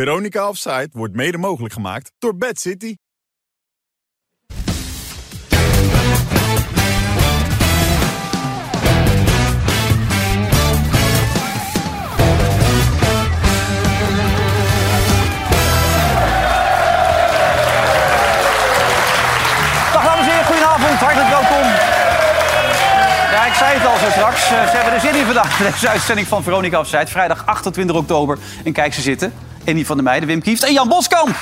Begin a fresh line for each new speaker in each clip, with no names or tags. Veronica Offside wordt mede mogelijk gemaakt door Bad City.
Dag dames en heren, goedenavond, hartelijk welkom. Ja, ik zei het al zo straks, eh, ze hebben er zin in vandaag. Deze uitzending van Veronica Offside, vrijdag 28 oktober. En kijk ze zitten, Andy van der Meijden, Wim Kieft en Jan Boskamp.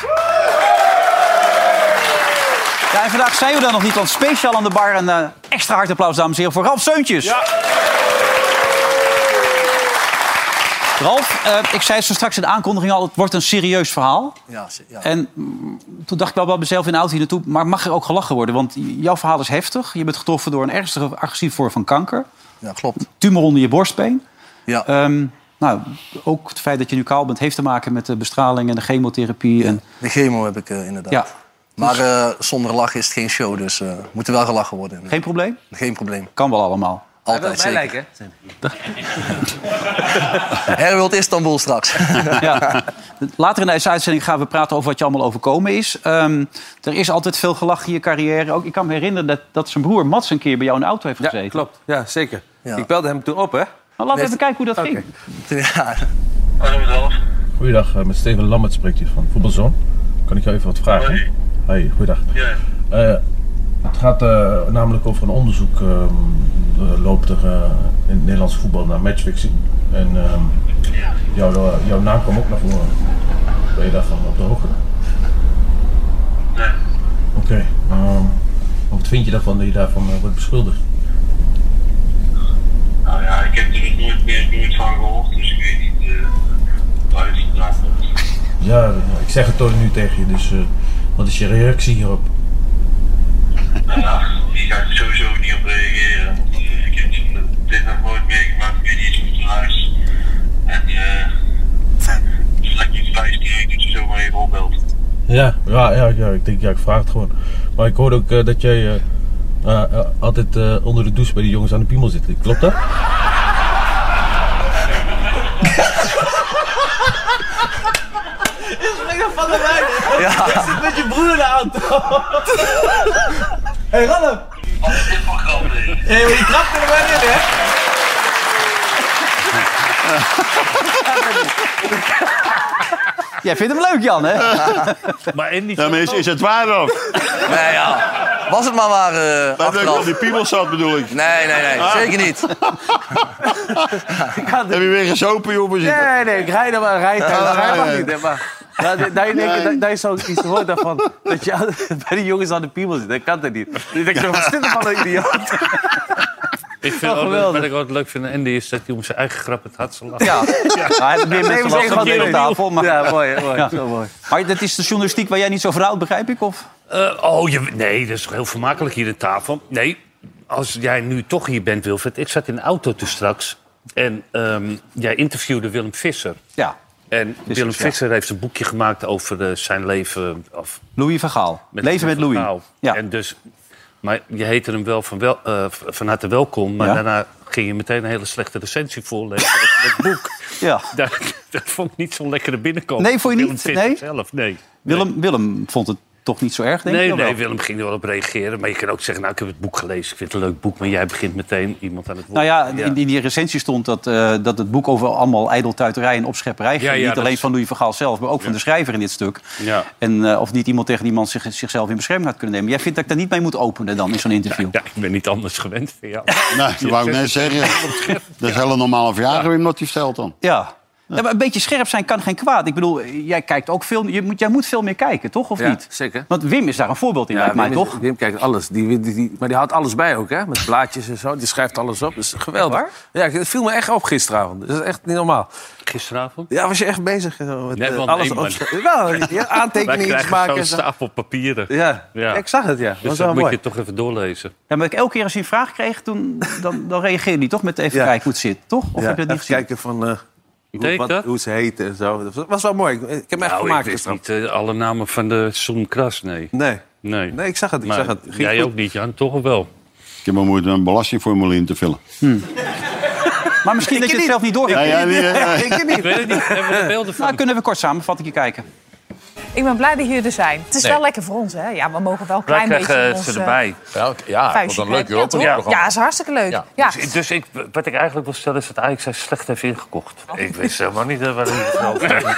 Ja, en vandaag zijn we daar nog niet, want speciaal aan de bar een eh, extra hard applaus, dames en heren, voor Ralf Seuntjes. Ralf, eh, ik zei het zo straks in de aankondiging al, het wordt een serieus verhaal.
Ja, ze- ja.
En mm, toen dacht ik wel bij mezelf in de auto hier naartoe... maar mag er ook gelachen worden? Want jouw verhaal is heftig. Je bent getroffen door een ernstige agressieve vorm van kanker.
ja, klopt.
Tumor onder je borstbeen.
Ja.
Ehm, nou, ook het feit dat je nu kaal bent... heeft te maken met de bestraling en de chemotherapie. En,
de chemo heb ik eh, inderdaad.
ja,
Maar eh, zonder lachen is het geen show, dus eh moet er wel gelachen worden.
geen probleem?
Geen probleem.
Kan wel allemaal.
Altijd zeker. Herwild Istanbul straks.
Ja. Later in deze uitzending gaan we praten over wat je allemaal overkomen is. Ehm, er is altijd veel gelach in je carrière. Ook, ik kan me herinneren dat, dat zijn broer Mats een keer bij jou in de auto heeft
Ja,
gezeten.
klopt. Ja, zeker.
Ja.
Ik belde hem toen op, hè?
Nou, laten we even kijken hoe dat ging.
ja.
Goeiedag, eh, met Steven Lammert spreekt u van Voetbalzoon. Kan ik jou even wat vragen? Hoi. Hey, goeiedag. Eh, het gaat eh, namelijk over een onderzoek ehm, er loopt er eh, in het Nederlands voetbal naar matchfixing. En ehm, jouw, jouw naam kwam ook naar voren. Ben je daarvan op de hoogte? Nee. Oké. ehm, wat vind je daarvan dat je daarvan eh, wordt beschuldigd?
Nou ja, ik heb er nog nooit meer nooit van gehoord, dus ik weet niet eh, waar het nou vandaan komt.
Ja, eh, ik zeg het toch nu tegen je, dus eh, wat is je reactie hierop?
Nou ja, die ga ik sowieso niet op reageren. want, eh, Ik heb dit nog nooit meegemaakt, ik weet niet eens hoe het huis. En eh, het is lekker iets wijs die ik dat je zomaar even opbelt.
Ja, ja, ja, ja, ik denk, ja, ik vraag het gewoon. Maar ik hoorde ook eh, dat jij eh, eh, eh, altijd eh, onder de douche bij die jongens aan de piemel zit. Klopt dat?
Wat is dit voor grap, hè?
Jij vindt hem leuk, Jan, hè?
Maar en die ja, maar is, is het waar of?
Nee, ja. Was het maar waar
Dat ik
eh
op
achteraf.
die piemel zat bedoel ik. Ah.
Nee, nee, nee. Zeker niet.
Heb je weer gezopen jongen? zitten?
Nee, nee, ik rijd er maar. Rijd,
Ja,
maar, rijd
ja,
maar
ja.
niet, hè, maar. Nou, dat- dat je denkt- dat- Dat je zoiets hoort daarvan. Dat je aan- bij die jongens aan de piemel zit. Dat kan dat niet. Dan denk je, wat is dit van een idioot?
Ik vind
Oh,
ook,
geweldig.
wat ik ook leuk vind aan Andy is dat hij om zijn eigen grap het hardste lacht.
Ja. Maar hij heeft meer
Neem
mensen
eens
last
even
dan
wat
hier op
mee.
tafel. Maar,
Ja, mooi, mooi.
Ja.
Zo mooi.
maar dat is de journalistiek waar jij niet zo verhoudt, begrijp ik? Of?
Eh, oh, je, nee, dat is toch heel vermakelijk hier aan tafel. Nee, als jij nu toch hier bent, Wilfred. Ik zat in de auto toen straks en ehm, jij interviewde Willem Visser.
Ja,
En Willem
ja.
Visser heeft een boekje gemaakt over eh, zijn leven. Of
Louis van Gaal. Leven met Louis.
verhaal.
Ja.
En dus, maar je heette hem wel van, wel, eh, van harte welkom. Maar
Ja.
daarna ging je meteen een hele slechte recensie voorlezen over het boek.
ja.
Dat, dat vond ik niet zo'n lekkere binnenkomen.
Nee, vond je niet?
Willem Visser
Nee?
zelf, nee.
Willem, Willem vond het toch niet zo erg, denk ik?
Nee,
of wel?
nee, Willem ging er wel op reageren. Maar je kan ook zeggen, nou, ik heb het boek gelezen. Ik vind het een leuk boek, maar jij begint meteen iemand aan het woord.
Nou ja, in, in die recensie stond dat, eh, dat het boek over allemaal ijdeltuiterij en opschepperij ging.
Ja, ja,
niet
dat
alleen
is-
van Louis van Gaal zelf, maar ook van de schrijver in dit stuk.
Ja.
En eh, of niet iemand tegen die man zich, zichzelf in bescherming had kunnen nemen. Jij vindt dat ik daar niet mee moet openen dan in zo'n interview?
Ja, ik ben niet anders gewend van jou.
Nee, Nou, dat wou ik net zeggen. Dat is hele normale vragen Wim, dat hij vertelt dan.
Ja. Ja, maar een beetje scherp zijn kan geen kwaad. Ik bedoel, jij kijkt ook veel. Je moet, jij moet veel meer kijken, toch? Of
Ja,
niet?
zeker.
Want Wim is daar een voorbeeld in, lijkt mij,
Wim is-
toch?
Wim kijkt alles. Die, die, die- maar die houdt alles bij ook, hè? Met blaadjes en zo. Die schrijft alles op. Dat is geweldig.
Echt
Ja, het viel me echt op gisteravond. Dat is echt niet normaal.
Gisteravond.
Ja, was je echt bezig zo, met
Nee,
eh,
want
alles
nee, man.
opschrijven? Nou, ja,
Wij
aantekeningen
krijgen
maken.
zo'n
en zo.
stapel papieren.
Ja.
Ja.
ik zag het, ja. Dat
Dus
was
dat
wel
moet
mooi.
je toch even doorlezen.
Ja, maar elke keer als je een vraag kreeg, toen, dan, dan reageerde hij toch met even
Ja.
kijken hoe het zit, toch? Of
Ja,
heb je dat niet
even
gezien?
kijken van eh, hoe,
Deed
wat-
dat?
hoe ze heten en zo. Dat was- was wel mooi. Ik, ik heb hem echt
Nou,
gemaakt.
ik wist
gisteravond.
niet eh, alle namen van de Zoomkras, nee.
Nee.
Nee.
nee, ik zag het. Ik
Maar
zag het. Ging
jij
goed.
ook niet, Jan, toch wel?
Hmm.
Ik heb maar moeite om een belastingformulier in te vullen.
Maar misschien dat je het zelf niet door hebt.
Ja, ja, die, eh,
Ik heb niet.
weet het niet. Hebben we de beelden van?
Nou, kunnen we kort samenvatting kijken.
Ik ben blij dat jullie er zijn. Het is
Nee.
wel lekker voor ons, hè? Ja, we mogen wel een
Wij
klein beetje
krijgen
ons,
ze
eh,
erbij. Ah,
Ja, oké. ja
vuistje
wat een leuk
knijpen. Ja,
Europa
toch?
ja,
Ja, is hartstikke leuk. Ja.
Ja.
Dus, dus ik, wat ik eigenlijk wil stellen is dat Ajax hij slecht heeft ingekocht. Ik wist helemaal niet eh, waar hij het over had.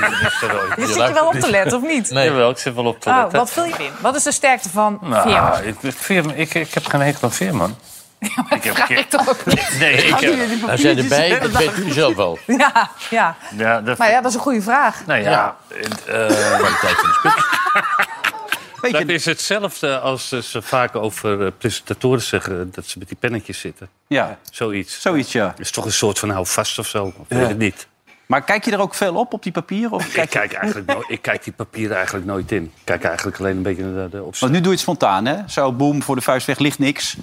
Je Oh. zit er wel op te letten, of niet?
Nee.
Jawel, ik zit wel op te
Oh,
letten.
wat viel je in? Wat is de sterkte van Veerman?
Nou, ik, Veerman- ik, ik heb geen hekel aan Veerman. ik heb
Vraag
geen-
ik toch ook niet.
Nee, ik heb...
Als jij erbij bent, weet u zelf wel.
Ja, ja.
Ja, dat,
Maar ja, dat is een goede vraag.
nou ja, het, eh,
Kwaliteit van de spits.
Weet
dat
je,
is hetzelfde als eh, ze vaak over eh, presentatoren zeggen... dat ze met die pennetjes zitten.
ja,
Zoiets.
zoiets, ja.
Het is toch een soort van hou vast of zo. Ik weet het niet.
Maar kijk je er ook veel op, op die papieren? Of
Ik
kijk je-
kijk, eigenlijk no- ik kijk die papieren eigenlijk nooit in. Ik kijk eigenlijk alleen een beetje naar de, de opstelling.
Want nu doe je het spontaan, hè? Zo, boem, voor de vuist weg, ligt niks.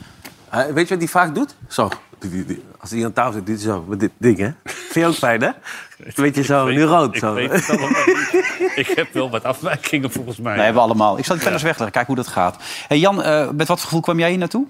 Eh, Weet je wat die vaak doet? Zo. Die- die- die- Als hij aan tafel zit, doet hij zo. Met dit ding, hè? Vind je ook pijn, hè? Een beetje zo, nu rood.
Ik
Zo.
weet het allemaal niet. Ik heb wel wat afwijkingen volgens mij.
Nee, hebben we allemaal. Ik zal die penners wegleggen, kijk hoe dat gaat. Hey Jan, eh, met wat gevoel kwam jij hier naartoe?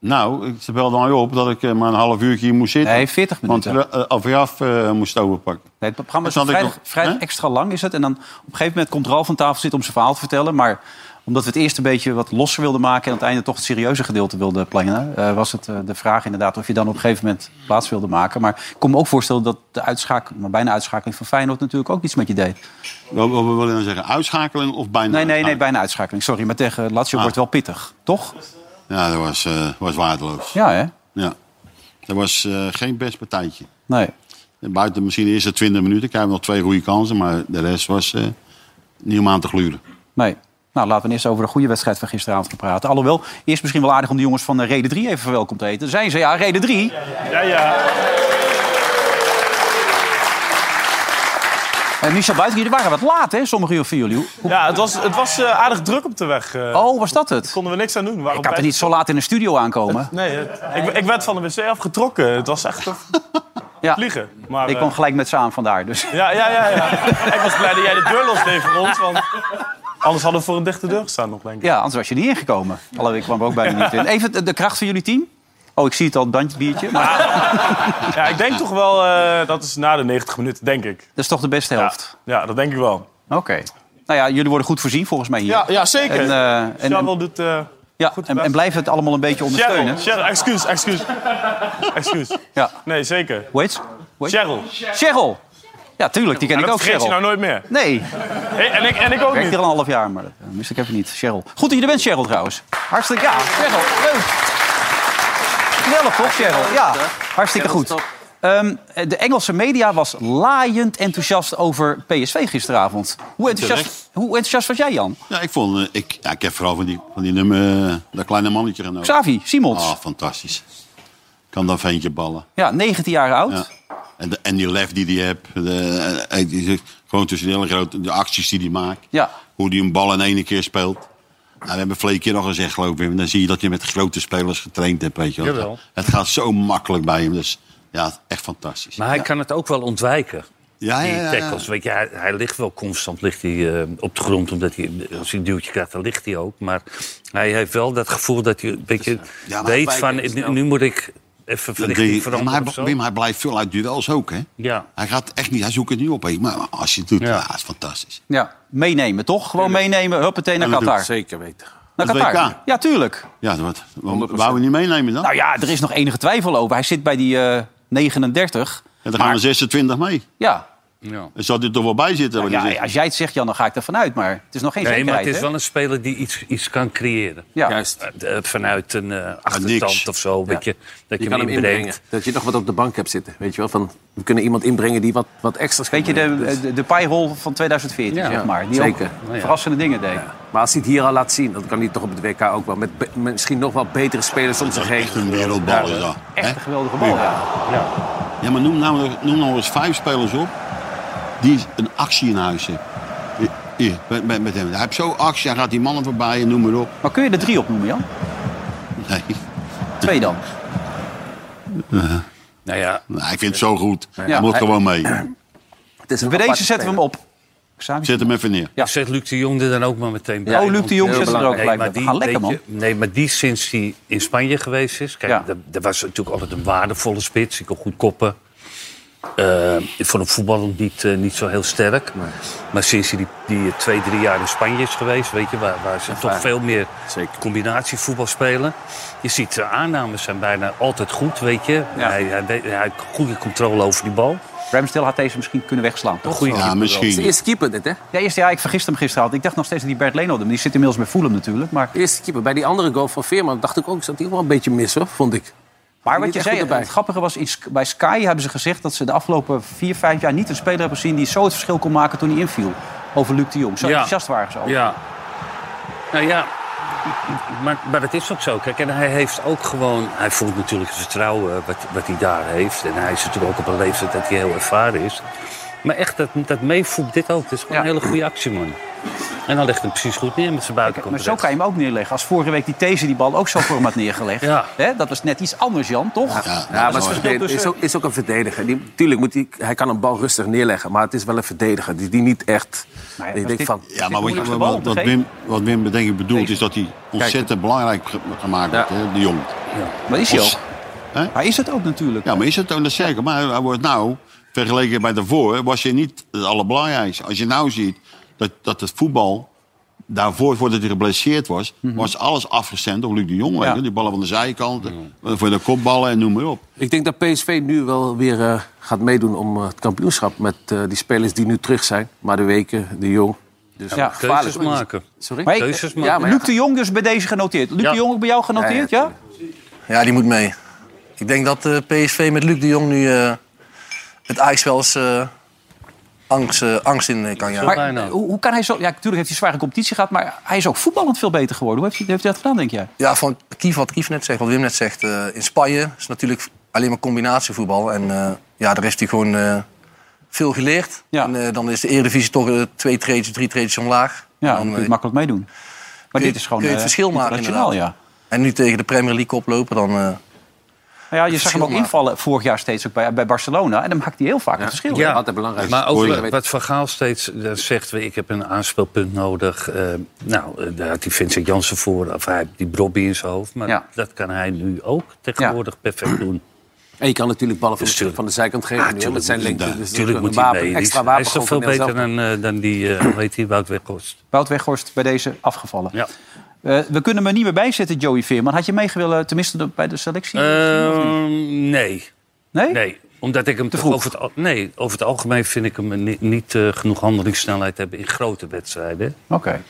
nou, ik- ze belde mij op dat ik eh, maar een half uurtje hier moest zitten.
Nee, 40
want
minuten.
eh, eh, afjaf eh, moest overpakken.
Nee, het programma is
Dat had ik
vrij,
nog-
vrij
hè?
extra lang is het. En dan op een gegeven moment komt Ralf van tafel zitten om zijn verhaal te vertellen. Maar omdat we het eerst een beetje wat losser wilden maken... en aan het einde toch het serieuze gedeelte wilden plannen... eh, was het eh, de vraag inderdaad of je dan op een gegeven moment plaats wilde maken. Maar ik kon me ook voorstellen dat de uitschakeling... maar bijna uitschakeling van Feyenoord natuurlijk ook iets met je deed.
Wat, wat wil je dan zeggen? Uitschakeling of bijna?
Nee, nee, nee,
uitschakeling?
bijna uitschakeling. Sorry, maar tegen Lazio
Ah.
wordt wel pittig, toch?
Ja, dat was, eh, was waardeloos.
Ja, hè?
Ja. Dat was eh, geen best partijtje.
Nee.
Buiten misschien de eerste 20 minuten krijgen we nog twee goede kansen, maar de rest was eh niet om aan te gluren.
Nee. Nou, laten we eerst over de goede wedstrijd van gisteravond gaan praten. Alhoewel, eerst misschien wel aardig om de jongens van eh, Reden 3 even verwelkomd te heten. Zijn ze? Ja, Reden 3.
Ja, ja.
Eh Michel Buiten, jullie waren wat laat, hè? Sommigen van jullie. Hoe-
Ja, het was, het was eh, aardig druk op de weg. eh
Oh, was dat het?
Konden we niks aan doen. We waren
Ik had er
bij-
niet zo laat in de studio aankomen.
eh, Nee, het- ik, ik werd van de wc afgetrokken. Het was echt een
Ja,
vliegen. Maar,
ik
eh,
kwam gelijk met ze aan vandaar. Dus.
ja, ja, ja, ja. ik was blij dat jij de deur losdeed voor ons. Want anders hadden we voor een dichte deur gestaan nog, denk ik.
Ja, anders was je niet ingekomen. Alhoewel, ik kwam er ook bijna niet in. Even de- de kracht van jullie team. Oh, ik zie het al, het bandje biertje. Maar
Ja, ik denk toch wel, eh, dat is na de 90 minuten, denk ik.
dat is toch de beste
Ja,
helft.
ja dat denk ik wel.
Oké. Nou ja, jullie worden goed voorzien volgens mij hier.
Ja, ja zeker.
En,
En,
eh, en-
doet... eh
Ja,
goed
en,
best.
en blijven het allemaal een beetje ondersteunen.
Cheryl, Cheryl, excuus, excuus. Excuus.
Ja.
Nee, zeker.
Hoe heet ze? Hoe heet-
Cheryl.
Cheryl. Ja, tuurlijk, die ken ik
dat
ook,
vergeet je
Cheryl.
nou nooit meer.
Nee,
Hey, en, ik, en ik ook
werkt
niet.
hier al een half jaar, maar dat eh, wist ik even niet. Cheryl. Goed dat je er bent, Cheryl, trouwens. Hartstikke, ja, Cheryl, leuk. Knellig, toch, Cheryl? Ja, hartstikke goed. Ehm, de Engelse media was laaiend enthousiast over PSV gisteravond. Hoe enthousiast, hoe enthousiast was jij, Jan?
Ja, ik, vond, eh, ik, ja, ik heb vooral van die, van die nummer, eh, dat kleine mannetje genomen.
Xavi, Simons.
Ah, fantastisch. Kan dat ventje ballen.
Ja, 19 jaar oud.
Ja. En, de, en die lef die die hebt. de- eh, die zit gewoon tussen de hele grote de acties die die maakt.
Ja.
Hoe die een bal in één keer speelt. Nou, we hebben vorige keer al gezegd, geloof ik. Dan zie je dat je met grote spelers getraind hebt. Weet je wel.
Jawel.
Het gaat zo makkelijk bij hem. Dus ja, echt fantastisch.
Maar hij kan het ook wel ontwijken.
Ja,
die
ja, ja, ja.
tackles. Weet je, hij, hij ligt wel constant ligt hij, eh, op de grond. Omdat hij, als hij een duwtje krijgt, dan ligt hij ook. Maar hij heeft wel dat gevoel dat hij een beetje
eh, Ja, maar
weet
wij-
van... Nu, nu moet ik even
Ja,
verlichting
die- maar,
veranderen
hij,
of zo.
Wim, hij blijft veel uit duels ook, hè?
Ja.
Hij gaat echt niet, hij zoekt het niet op. hè. Maar als je het doet, ja. dat is fantastisch.
Ja, meenemen, toch? Gewoon meenemen, huppatee naar
En dat doet
Qatar.
Zeker weten.
Naar
Dat
Qatar.
WK.
Ja, tuurlijk.
Ja, dat wordt, wou je niet meenemen dan?
Nou ja, er is nog enige twijfel over. Hij zit bij die eh, 39.
en dan gaan we 26 mee.
Ja, Nou
Er zal dit toch wel bij zitten? wat
ja,
hij
ja,
zegt.
als jij het zegt, Jan, dan ga ik ervan uit. Maar het is nog geen
Nee, maar
zekerheid,
het is
hè?
wel een speler die iets, iets kan creëren.
Ja.
Eh, eh, vanuit een eh,
niks.
achterkant of zo. Weet je, dat je,
Je kan
hem
hem inbrengen.
inbrengt.
Dat je nog wat op de bank hebt zitten. Weet je wel? Van, we kunnen iemand inbrengen die wat, wat extra's kan
Weet je,
brengen. Dus-
de, de, de paairol van 2014, zeg maar. Die
zeker.
ook verrassende dingen deed.
Maar als hij het hier al laat zien, dan kan hij het toch op het WK ook wel. Met be- misschien nog wel betere spelers om zich heen.
Echt een wereldbal is dat.
Echt
hè?
een geweldige bal. ja.
Ja, maar noem nou, noem nou eens vijf spelers op die een actie in huis hebben. Hier, Hier, met, met, met hem. Hij heeft zo actie, hij gaat die mannen voorbij en noem maar op.
Maar kun je er drie op noemen, Jan?
Nee,
Twee dan.
Nou ja,
nou, ik vind het zo goed.
Ja.
hij moet gewoon mee.
Het is een
Bij
aparte
deze zetten we hem op. Xavi.
Zet hem even neer.
Ja.
Zet Luc de Jong er dan ook maar meteen bij.
Oh, Luc de Jong
Want,
zit er
eh,
ook gelijk bij.
maar
We
die,
gaan lekker,
weet je, nee, maar die sinds hij in Spanje geweest is... Kijk,
Ja.
dat, dat was natuurlijk altijd een waardevolle spits. Ik kon goed koppen. Eh, ik vond hem voetballend niet, eh, niet zo heel sterk. Maar sinds hij die, die eh, twee, drie jaar in Spanje is geweest... Weet je, waar, waar ze toch veel meer combinatievoetbal spelen. Je ziet, zijn aannames zijn bijna altijd goed, weet je. Hij, hij, weet- hij heeft goede controle over die bal.
Ramsdale had deze misschien kunnen wegslaan. toch?
Goeie keeper wel.
Eerste keeper dit, hè?
Ja, eerst, ja, ik vergiste hem gisteravond. Ik dacht nog steeds dat die Bert Leno... Die zit inmiddels bij Fulham natuurlijk, maar...
Eerste keeper. Bij die andere goal van Veerman dacht ik ook... zat hij ook wel een beetje mis, hoor, vond ik.
Maar
Die
wat
is
je
echt
zei,
goed erbij.
het grappige was, in, Sk- bij Sky hebben ze gezegd... dat ze de afgelopen vier, vijf jaar niet een speler hebben gezien... die zo het verschil kon maken toen hij inviel. Over Luc de Jong. Zo
Ja.
enthousiast waren ze over.
Ja. Nou ja, maar, maar dat is ook zo. Kijk, en hij heeft ook gewoon... Hij voelt natuurlijk het vertrouwen wat, wat hij daar heeft. En hij is natuurlijk ook op een leeftijd dat hij heel ervaren is. Maar echt, dat, dat meevoelt dit ook. Dat is gewoon een hele goede actie, man. En dan legt hij hem precies goed neer met zijn buitenkant.
Maar zo kan je hem ook neerleggen. Als vorige week die These die bal ook zo voor hem had neergelegd.
Ja.
Hè, dat was net iets anders, Jan, toch? Dus, eh,
Ja,
Ja, maar
dat
het
is
is,
verschil
mooi.
verdediger- is,
tussen-
ook, is ook een verdediger. Die, tuurlijk, moet die, hij kan een bal rustig neerleggen. Maar het is wel een verdediger die, die niet echt...
Nou ja, maar
die denkt
dit-
van,
Ja, maar
Zit
wat,
de
wat-
bal op
wat,
te
wat
geven?
Wim, wat Wim denk ik bedoelt is dat hij ontzettend belangrijk ge- gemaakt wordt,
Ja.
hè, de jong.
Maar is hij
Ons-
ook.
Hè?
Maar is het ook natuurlijk.
Ja, maar is het ook dat zeker? Maar hij wordt nou, vergeleken bij daarvoor, was je niet het allerbelangrijkste. Als je nou ziet dat, dat het voetbal, daarvoor voordat hij geblesseerd was, was alles afgestemd op Luc de Jong. weet
Mhm. Ja.
je, Die ballen van de zijkant, eh, voor de kopballen en noem maar op.
ik denk dat PSV nu wel weer eh, gaat meedoen om eh, het kampioenschap... met eh, die spelers die nu terug zijn. Maar de weken, de jong. Dus
Ja,
Keuzes
gevaarlijk.
maken.
Sorry?
Maar ik-
Keuzes
Ja,
maken.
maar
Luc de Jong dus bij deze genoteerd. Luc
Ja.
de Jong ook bij jou genoteerd, ja?
Ja, die moet mee. Ik denk dat eh, PSV met Luc de Jong nu eh, het Ajax wel eens eh, angst, eh, angst in eh, kan jagen.
Maar
bijna.
eh, hoe, hoe kan hij zo... Ja, natuurlijk heeft hij zware competitie gehad... maar hij is ook voetballend veel beter geworden. Hoe heeft hij, heeft hij dat gedaan, denk jij?
Ja, van Kief wat Kief net zegt, wat Wim net zegt. eh, in Spanje is natuurlijk alleen maar combinatievoetbal. En eh, ja, daar heeft hij gewoon eh, veel geleerd.
Ja.
En eh, dan is de Eredivisie toch eh, twee treetjes, drie treetjes omlaag.
Ja,
En
dan
dan,
kun je
eh,
het makkelijk meedoen. Maar
je-
dit is gewoon
kun je het
eh,
verschil maken,
internationaal, ja.
inderdaad. en nu tegen de Premier League oplopen, dan... eh,
Nou ja, je zag hem ook
verschil
invallen vorig jaar steeds ook bij, bij Barcelona. En dan maakt hij heel vaak het verschil.
Ja,
Altijd belangrijk.
Maar ook
Spoiler.
wat- wat Van Gaal steeds eh, zegt, we- ik heb een aanspeelpunt nodig. Eh, nou, eh, daar had die Vincent Jansen voor, of hij had die Brobby in zijn hoofd. Maar
Ja.
dat kan hij nu ook tegenwoordig perfect doen.
En je kan natuurlijk ballen van,
Dus
de,
tuurlijk.
van de zijkant geven. nu, hè, met zijn lengte. Dus dat is
Natuurlijk
een
moet
wapen,
hij mee.
Extra
Extra
wapen
hij is toch veel
gewoon voor
beter
Nederland
dan, eh, dan die, eh, hoe heet die, Wout Weghorst.
Wout Weghorst bij deze afgevallen.
Ja.
Eh, we kunnen hem er niet meer bij zetten, Joey Veerman. Had je mee willen, tenminste de- bij de selectie? misschien, of niet?
Ehm, nee,
nee?
nee. Omdat ik hem toch
vroeg.
over het, al- nee, over het algemeen vind ik hem ni- niet eh, genoeg handelingssnelheid hebben in grote wedstrijden.
Oké.
zelf.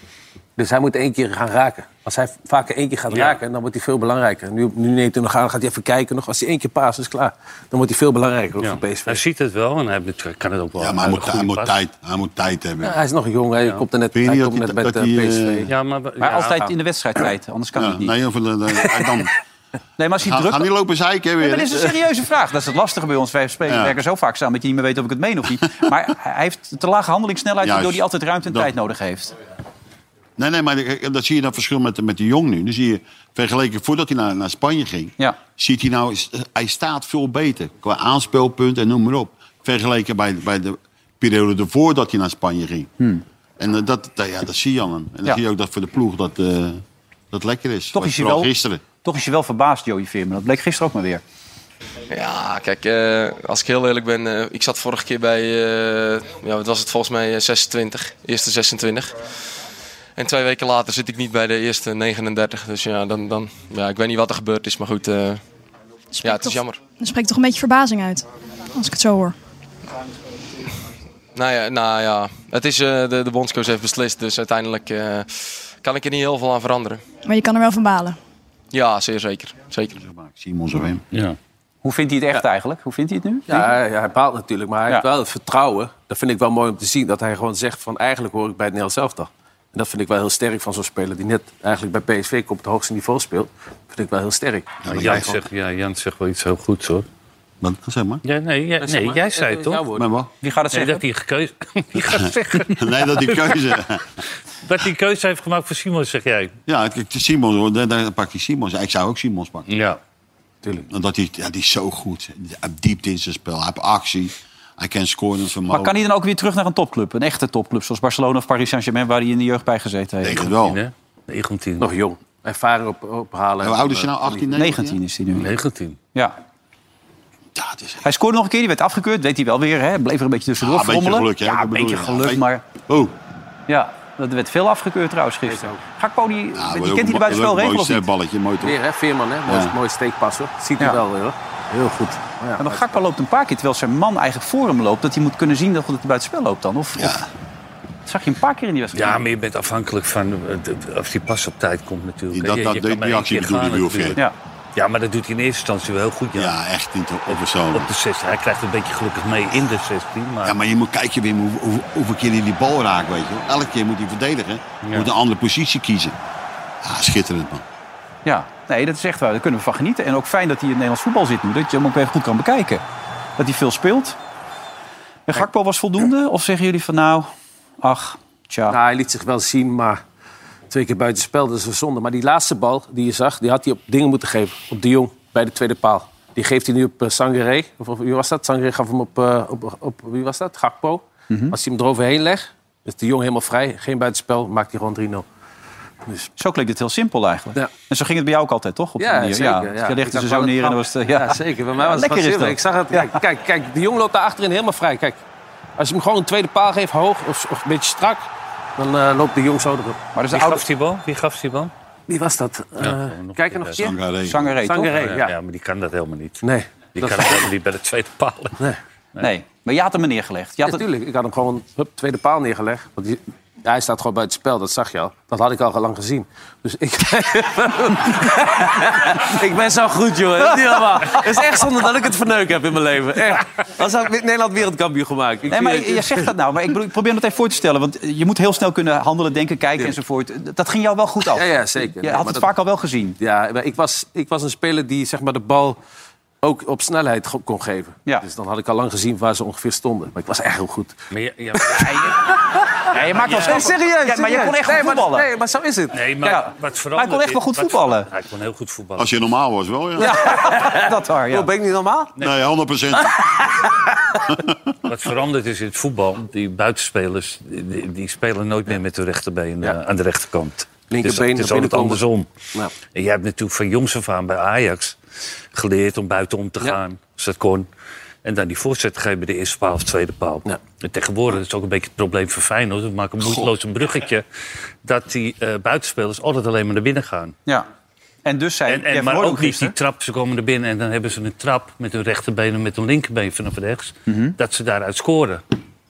Dus hij moet één keer gaan raken. Als hij vaker één keer gaat
Ja.
raken, dan wordt hij veel belangrijker. Nu, nu neemt hij nog aan, gaat hij even kijken. Nog. Als hij één keer paas is klaar, dan wordt hij veel belangrijker ook
Ja.
voor PSV.
Hij ziet het wel en hij heeft- kan het ook wel.
Ja, maar hij
een
moet,
goede
hij moet,
pas.
tijd, hij moet tijd hebben.
Ja, hij is nog jong, hij komt er net,
Vind je
hij
niet
komt
dat
net
hij-
met
dat
eh,
hij, eh,
PSV.
Ja, maar,
Maar
ja,
altijd in de wedstrijdtijd, anders kan
Ja,
het niet.
nee, of, de- de- Eh, ah, dan,
Nee, maar als hij
ga,
druk...
ga niet lopen zeiken hè,
Nee,
weer.
maar dit is een serieuze vraag. Dat is het lastige bij ons. Wij spelen
Ja.
werken zo vaak samen dat je niet meer weet of ik het meen of niet. Maar hij heeft te lage handelingssnelheid...
Juist.
waardoor hij altijd ruimte en
Dat-
tijd nodig heeft.
Nee, nee, maar dat zie je dat verschil met, met de jong nu. Dan zie je, vergeleken voordat hij naar, naar Spanje ging...
Ja.
ziet hij nou, is- hij staat veel beter qua aanspeelpunt en noem maar op. Vergeleken bij, bij de periode ervoor dat hij naar Spanje ging.
Hm.
En eh, dat, dat- ja, dat zie je aan hem. En dan
Ja.
zie je ook dat voor de ploeg dat, eh, dat lekker is.
Toch
Wat
is hij
vooral
wel-
gisteren.
Toch is je wel verbaasd, Joey Veerman. Dat bleek gisteren ook maar weer.
Ja, kijk, eh, als ik heel eerlijk ben, eh, ik zat vorige keer bij, eh, ja, wat was het volgens mij, eh, 26, eerste 26. En twee weken later zit ik niet bij de eerste 39. Dus ja, dan, dan, ja ik weet niet wat er gebeurd is, maar goed, eh, ja, het is jammer.
Dat spreekt toch een beetje verbazing uit, als ik het zo hoor.
Nou ja, nou ja het is, eh, de, de bondscoach heeft beslist, dus uiteindelijk eh, kan ik er niet heel veel aan veranderen.
Maar je kan er wel van balen.
Ja, zeer zeker. zeker.
Simon zo hem.
ja.
Hoe vindt hij het echt eigenlijk? Hoe vindt hij het nu?
Ja, hij, hij baalt natuurlijk, maar hij
Ja.
heeft wel het vertrouwen. Dat vind ik wel mooi om te zien. Dat hij gewoon zegt van eigenlijk hoor ik bij het Nederlands elftal. En dat vind ik wel heel sterk van zo'n speler die net eigenlijk bij PSV op het hoogste niveau speelt. Dat vind ik wel heel sterk.
Maar Jan, zegt, ja, Jan zegt wel iets heel goeds hoor.
Wat, zeg maar.
Ja, nee, ja,
Zeg
nee
maar,
jij
eh,
zei
eh,
het toch?
jouw woord.
Maar wat?
Wie gaat het
Nee,
zeggen?
dat hij gekeuze... Die gaat zeggen.
Nee, dat die keuze...
Dat hij keuze heeft gemaakt voor Simon, zeg jij.
ja, het- het is Simon, hoor. daar, daar pak je Simons. Ik zou ook Simons pakken.
Ja.
Omdat hij, ja, die is zo goed. Hij heeft diepte in zijn spel. Hij heeft actie. Hij kan scoren in zijn
Maar
mouw.
kan hij dan ook weer terug naar een topclub? Een echte topclub, zoals Barcelona of Paris Saint-Germain... waar hij in de jeugd bij gezeten heeft?
Ik denk het wel. 19,
19.
Nog jong. Ervaring op, ophalen.
Hoe oud is hij nou? 18, 19? 19 is hij nu.
19.
Ja. Hij scoorde nog een keer, die werd afgekeurd. Deed hij wel weer, hè? bleef er een beetje tussendoor
Ja, een beetje
frommelen.
geluk, hè?
Ja,
Dat
een
bedoel
beetje
je.
geluk,
Ja,
maar...
Oh.
Ja, dat werd veel afgekeurd trouwens gisteren. Gakpo, die,
wordt
die
ook
kent hij
een
bij de
mo- leuk
spelregel
mooi
of niet?
balletje, mooi toch?
Weer, hè? Veerman, hè? Mooi,
Ja.
mooi steekpas, hoor. Ziet hij
Ja.
wel, hoor. Heel goed. Ja,
Ja, maar Gakpo loopt een paar keer, terwijl zijn man eigenlijk voor hem loopt... dat hij moet kunnen zien dat het buitenspel loopt dan. Of, of- dat zag je een paar keer in die wedstrijd.
Ja, maar je bent afhankelijk van eh, de- of die pas op tijd komt natuurlijk.
Dat-
Je-
dat-
je
die
kan maar één
actie
keer
bedoelde
gaan
u, of
natuurlijk.
je?
Ja.
ja, maar dat doet hij in eerste instantie wel heel goed. Ja,
echt niet op, de zone.
Op de 16. Hij krijgt een beetje gelukkig mee in de 16. Maar...
Ja, maar je moet kijken Wim, hoe, hoe, hoeveel keer hij die bal raakt, weet je wel. Elke keer moet hij verdedigen.
Ja.
Moet een andere positie kiezen. Ja, schitterend, man.
Ja, nee, dat is echt waar. Daar kunnen we van genieten. En ook fijn dat hij in het Nederlands voetbal zit nu. Dat je hem ook weer goed kan bekijken. Dat hij veel speelt. En Gakpo was voldoende? Of zeggen jullie van nou, ach, tja.
Nou, hij liet zich wel zien, maar twee keer buiten spel, dat is een zonde. Maar die laatste bal die je zag, die had hij op dingen moeten geven. Op de Jong, bij de tweede paal. Die geeft hij nu op eh, Sangaré. Of, of wie was dat? Sangaré gaf hem op, eh, op, op, wie was dat? Gakpo.
Mhm.
Als hij hem eroverheen legt, is de Jong helemaal vrij. Geen buitenspel, maakt hij gewoon 3-0. Dus...
Zo klinkt het heel simpel eigenlijk.
Ja.
En zo ging het bij jou ook altijd, toch? Op die manier.
zeker,
Je
Ik
legde ze
dacht
zo
wel,
neer en dan was het... eh, Ja,
zeker. Bij mij was het
Lekker
lekker.
is dat.
Ik zag het. Kijk, Kijk, kijk, de jong loopt daar achterin helemaal vrij. Kijk, als je hem gewoon een tweede paal geeft, hoog of, of een beetje strak, dan eh, loopt de jong zo erop. Maar
Wie gaf die bal? Wie gaf die bal?
Wie was dat? Eh, kijk er nog een keer.
Sangaré.
Sangaré, toch? Sangaré, ja.
ja, maar die kan dat helemaal niet.
Nee.
Die
Dat-
kan dat helemaal niet bij de tweede palen.
Nee.
Nee, maar je had hem er neergelegd. Je had het...
Natuurlijk, ik had hem gewoon hup, tweede paal neergelegd. Want die- hij staat gewoon buiten spel, dat zag je al. Dat had ik al lang gezien. Dus ik... ik ben zo goed, joh. Dat is niet normaal. Het is echt zonde dat ik het verneuk heb in mijn leven. Echt. Anders had ik Nederland wereldkampioen gemaakt. Ik
Nee,
zie
maar
eh,
het-
je je zegt dat nou. Maar ik bedoel, ik probeer het even voor te stellen. Want je moet heel snel kunnen handelen, denken, kijken enzovoort. Dat ging jou wel goed af.
Ja, ja,
Je
zeker. Ja,
had
maar
het
dat-
vaak al wel gezien.
Ja, maar ik was, ik was een speler die zeg maar, de bal ook op snelheid ge- kon geven.
Ja.
Dus dan had ik al lang gezien waar ze ongeveer stonden. Maar ik was echt heel goed.
Maar ja, ja, maar-
Ja, je maakt wel stappen. Ja, maar je kon echt goed
nee, maar-
voetballen.
nee, maar zo is het.
nee, maar
Ja.
wat
Maar hij kon echt wel goed voetballen.
Hij kon heel goed voetballen.
Als je normaal was, wel, ja.
Dat waar, ja.
Oh, ben ik niet normaal?
Nee, 100
Wat veranderd is in het voetbal, die buitenspelers, die, die- die spelen nooit meer met de rechterbeen eh, aan de rechterkant.
Linkerbeen
het is, het is
naar
altijd
binnen
andersom.
Ja.
En jij hebt natuurlijk van jongs af aan bij Ajax geleerd om buiten om te
Ja.
gaan, als dat kon. En dan die voorzet geven bij de eerste paal of tweede paal.
Ja.
En tegenwoordig is het ook een beetje het probleem van Feyenoord. We maken een moeiteloos een bruggetje dat die eh, buitenspelers altijd alleen maar naar binnen gaan.
Ja. En dus zei
En, en-
Jeff
maar
Roordonk
ook niet die
gisteren-
trap. Ze komen er binnen en dan hebben ze een trap met hun rechterbeen en met hun linkerbeen vanaf rechts.
Mhm.
Dat ze daaruit scoren.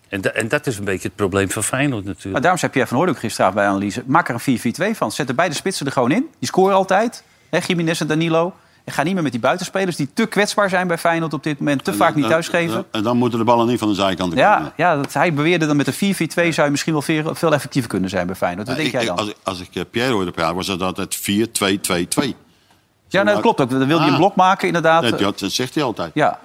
En, da- en dat is een beetje het probleem van Feyenoord
Maar
natuurlijk.
daarom zei Pierre van Hooydonk gisteravond bij analyse... maak er een 4-4-2 van. Zet er beide spitsen er gewoon in. Die scoren altijd. Hè, Jiménez en Danilo. En ga niet meer met die buitenspelers die te kwetsbaar zijn bij Feyenoord op dit moment. Te vaak niet thuisgeven.
En dan moeten de ballen niet van de zijkant
Ja,
komen.
ja dat, hij beweerde dat met een 4-4-2 zou je misschien wel veel, veel effectiever kunnen zijn bij Feyenoord. Wat denk
Ik-
jij
Nou, ik-
dan?
Als, ik- als ik eh, Pierre hoorde praten, was dat altijd 4-2-2-2.
ja, nou, dat klopt ook. Dan wil hij een
Ah.
blok maken inderdaad.
Dat, dat zegt hij altijd.
Ja,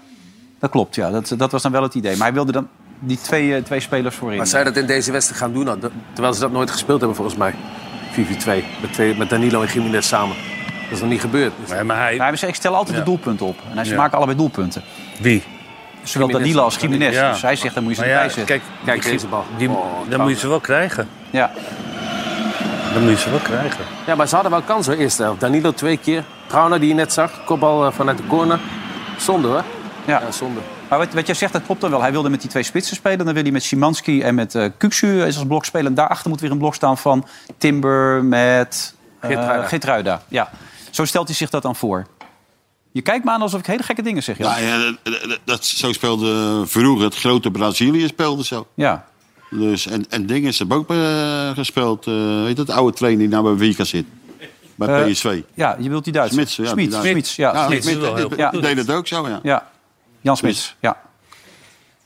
dat klopt. Ja. Dat, dat was dan wel het idee. Maar hij wilde dan die twee, eh, twee spelers voorin.
Maar zij dat in deze wedstrijd gaan doen, nou, dat- terwijl ze dat nooit gespeeld hebben volgens mij. 4-4-2, met, twee- met Danilo en Jiménez samen. Dat is nog niet gebeurd. Dus
Maar, maar hij,
Maar hij zei, ik stel altijd
Ja.
de doelpunten op. En hij zei,
Ja.
maken allebei doelpunten.
wie?
Zowel Danilo als Jiménez.
Ja.
Dus hij zegt, dan moet je ze
Maar ja,
erbij zetten.
kijk,
Kijk,
die-
deze bal.
Die,
Oh,
dan moet je ze wel krijgen.
Ja.
Dan moet je ze wel krijgen.
Ja, maar ze hadden wel kans hoor, eerste helft. Danilo twee keer. Trauner die je net zag, kopbal eh, vanuit de corner. Zonde hoor.
Ja.
Ja, zonde.
Maar wat, wat jij zegt, dat klopt dan wel. Hij wilde met die twee spitsen spelen. Dan wil hij met Szymanski en met eh Kuksu is als blok spelen. En daarachter moet weer een blok staan van Timber met eh,
Geertruida.
Geertruida. Ja. Zo stelt hij zich dat dan voor. Je kijkt me aan alsof ik hele gekke dingen zeg. Jan.
Nou, ja, dat, dat- dat- zo speelde vroeger het grote Brazilië speelde zo.
Ja.
Dus, en, en dingen ze hebben ook eh, gespeeld. eh weet je dat oude trainer die nou bij Wika zit? Bij
Eh,
PSV.
ja, je wilt die Duits.
Smits, ja, die
Smits,
Duitser.
Smits, ja.
Ja,
Smits is wel heel
die-
goed.
die deed het ook zo, ja.
Ja, Jan Smits, ja.